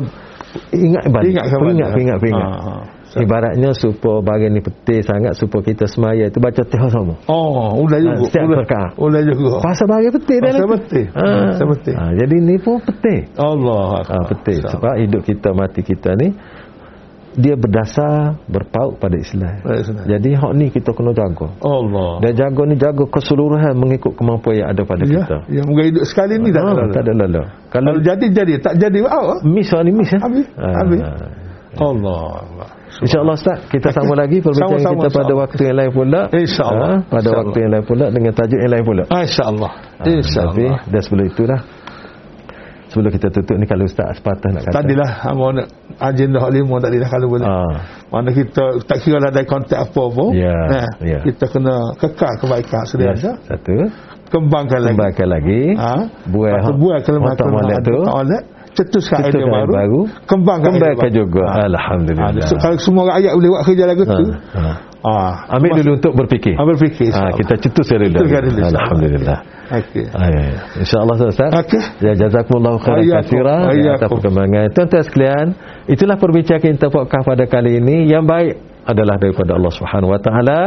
B: ingat balik.
C: Ingat kawan.
B: Ingat, ingat, ingat.
C: Ha, ha.
B: Ibaratnya supaya bagian ni penting sangat supaya kita semaya itu baca teh sama.
C: Oh, ulah
B: Ha,
C: juga.
B: setiap
C: ulah,
B: perkara.
C: ulah juga.
B: Pasal bagian penting
C: Pasal
B: dalam-
C: penting.
B: Ha.
C: Pasal penting.
B: Ha, jadi ni pun penting.
C: Allah.
B: Ha, penting
C: Insya-
B: sebab hidup kita mati kita ni dia berdasar berpaut pada Islam.
C: Pada Islam.
B: Jadi hak ni kita kena jaga.
C: Allah.
B: Dan jaga ni jaga keseluruhan mengikut kemampuan yang ada pada
C: Ya,
B: kita.
C: ya, moga hidup sekali ni dah.
B: Ha,
C: dah-
B: tak ada lala. Kalau
C: Kalau jadi jadi, tak jadi wow.
B: miss ni miss ya.
C: Habis,
B: Ha.
C: habis. Allah. Allah.
B: InsyaAllah Ustaz Kita sambung lagi Perbincangan
C: Sama-sama,
B: kita pada
C: insyaAllah.
B: waktu yang lain pula
C: InsyaAllah.
B: Ha, Pada
C: InsyaAllah.
B: waktu yang lain pula Dengan tajuk yang lain pula
C: Ah, InsyaAllah.
B: Ha, Tapi
C: InsyaAllah.
B: dah sebelum itulah Sebelum kita tutup ni Kalau Ustaz sepatah nak kata
C: Tadilah hamba nak agenda hak lima tadi dah kalau boleh.
B: ha,
C: Mana kita tak kira lah ada kontak apa pun.
B: Ya, ya.
C: Kita kena kekal kebaikan sedia
B: yes,
C: ada.
B: Satu
C: Kembangkan lagi.
B: Kembangkan lagi
C: Ha?
B: Buai
C: Lepas tu
B: hak- otak
C: buai
B: molek
C: kelemahan-kelemahan
B: tu
C: otak molek. Cetuskan
B: Cetuskan
C: idea
B: idea
C: baru.
B: baru.
C: Kembangkan, idea
B: Kembangkan
C: baru.
B: juga
C: Ha. Ha,
B: Alhamdulillah
C: so, kalau semua rakyat boleh buat kerja lagu
B: ha,
C: tu.
B: ha.
C: Ha.
B: Ambil dulu untuk berfikir
C: Ambil
B: ha,
C: fikir. insyaAllah.
B: Kita cetuskan dulu
C: Cetuskan dulu, insyaAllah.
B: Alhamdulillah
C: Okey.
B: Ah, ya, ya. InsyaAllah Ustaz
C: Okey.
B: Ya jazakumullah khairan
C: Ayakum,
B: katsira ya, atas
C: ayakum.
B: perkembangan. Tuan-tuan sekalian, itulah perbincangan kita podcast pada kali ini yang baik adalah daripada Allah Subhanahu Wa Taala.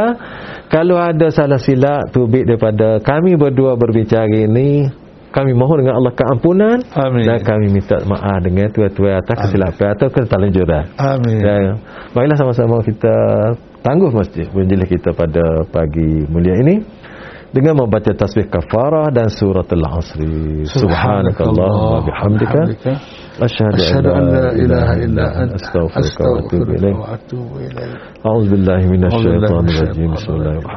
B: Kalau ada salah silap tubik daripada kami berdua berbicara ini, kami mohon dengan Allah keampunan
C: Amin.
B: dan kami minta maaf dengan tuan-tuan atas kesilapan atau keterlanjuran.
C: Amin.
B: Dan marilah sama-sama kita tangguh masjid penjelih kita pada pagi mulia ini dengan membaca tasbih kafarah dan surah al-asri. Subhanakallah wa bihamdika. Asyhadu
C: Asyhadu
B: an la ilaha illa
C: anta
B: anta astaghfiruka wa atubu ilaik.
C: wa atubu ilaik.
B: A'udzu billahi minasy
C: A'udzu billahi
B: syaithanir
C: minasy
B: rajim.
C: syaitanir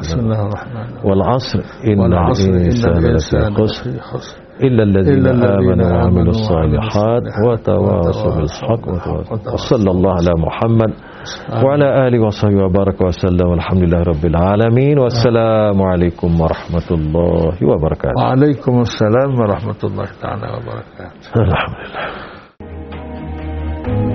B: Bismillahirrahmanirrahim.
C: Bismillahirrahmanirrahim.
B: Wal 'asr
C: Wal
B: innal
C: asri
B: insana
C: innal
B: lafi
C: insana
B: khusr
C: lafi khusr.
B: إلا الذين
C: إلا الذين
B: آمنوا
C: آمنوا
B: وعملوا
C: وعملوا
B: الصالحات
C: الصالحات
B: وتواصوا
C: وتواصوا
B: بالحق
C: بالحق
B: وتواصوا
C: وتواصوا
B: وصلى الله على محمد وعلى آله وصحبه وبارك وسلم والحمد لله رب العالمين والسلام عليكم ورحمة الله وبركاته
C: وعليكم السلام ورحمة الله تعالى وبركاته
B: الحمد لله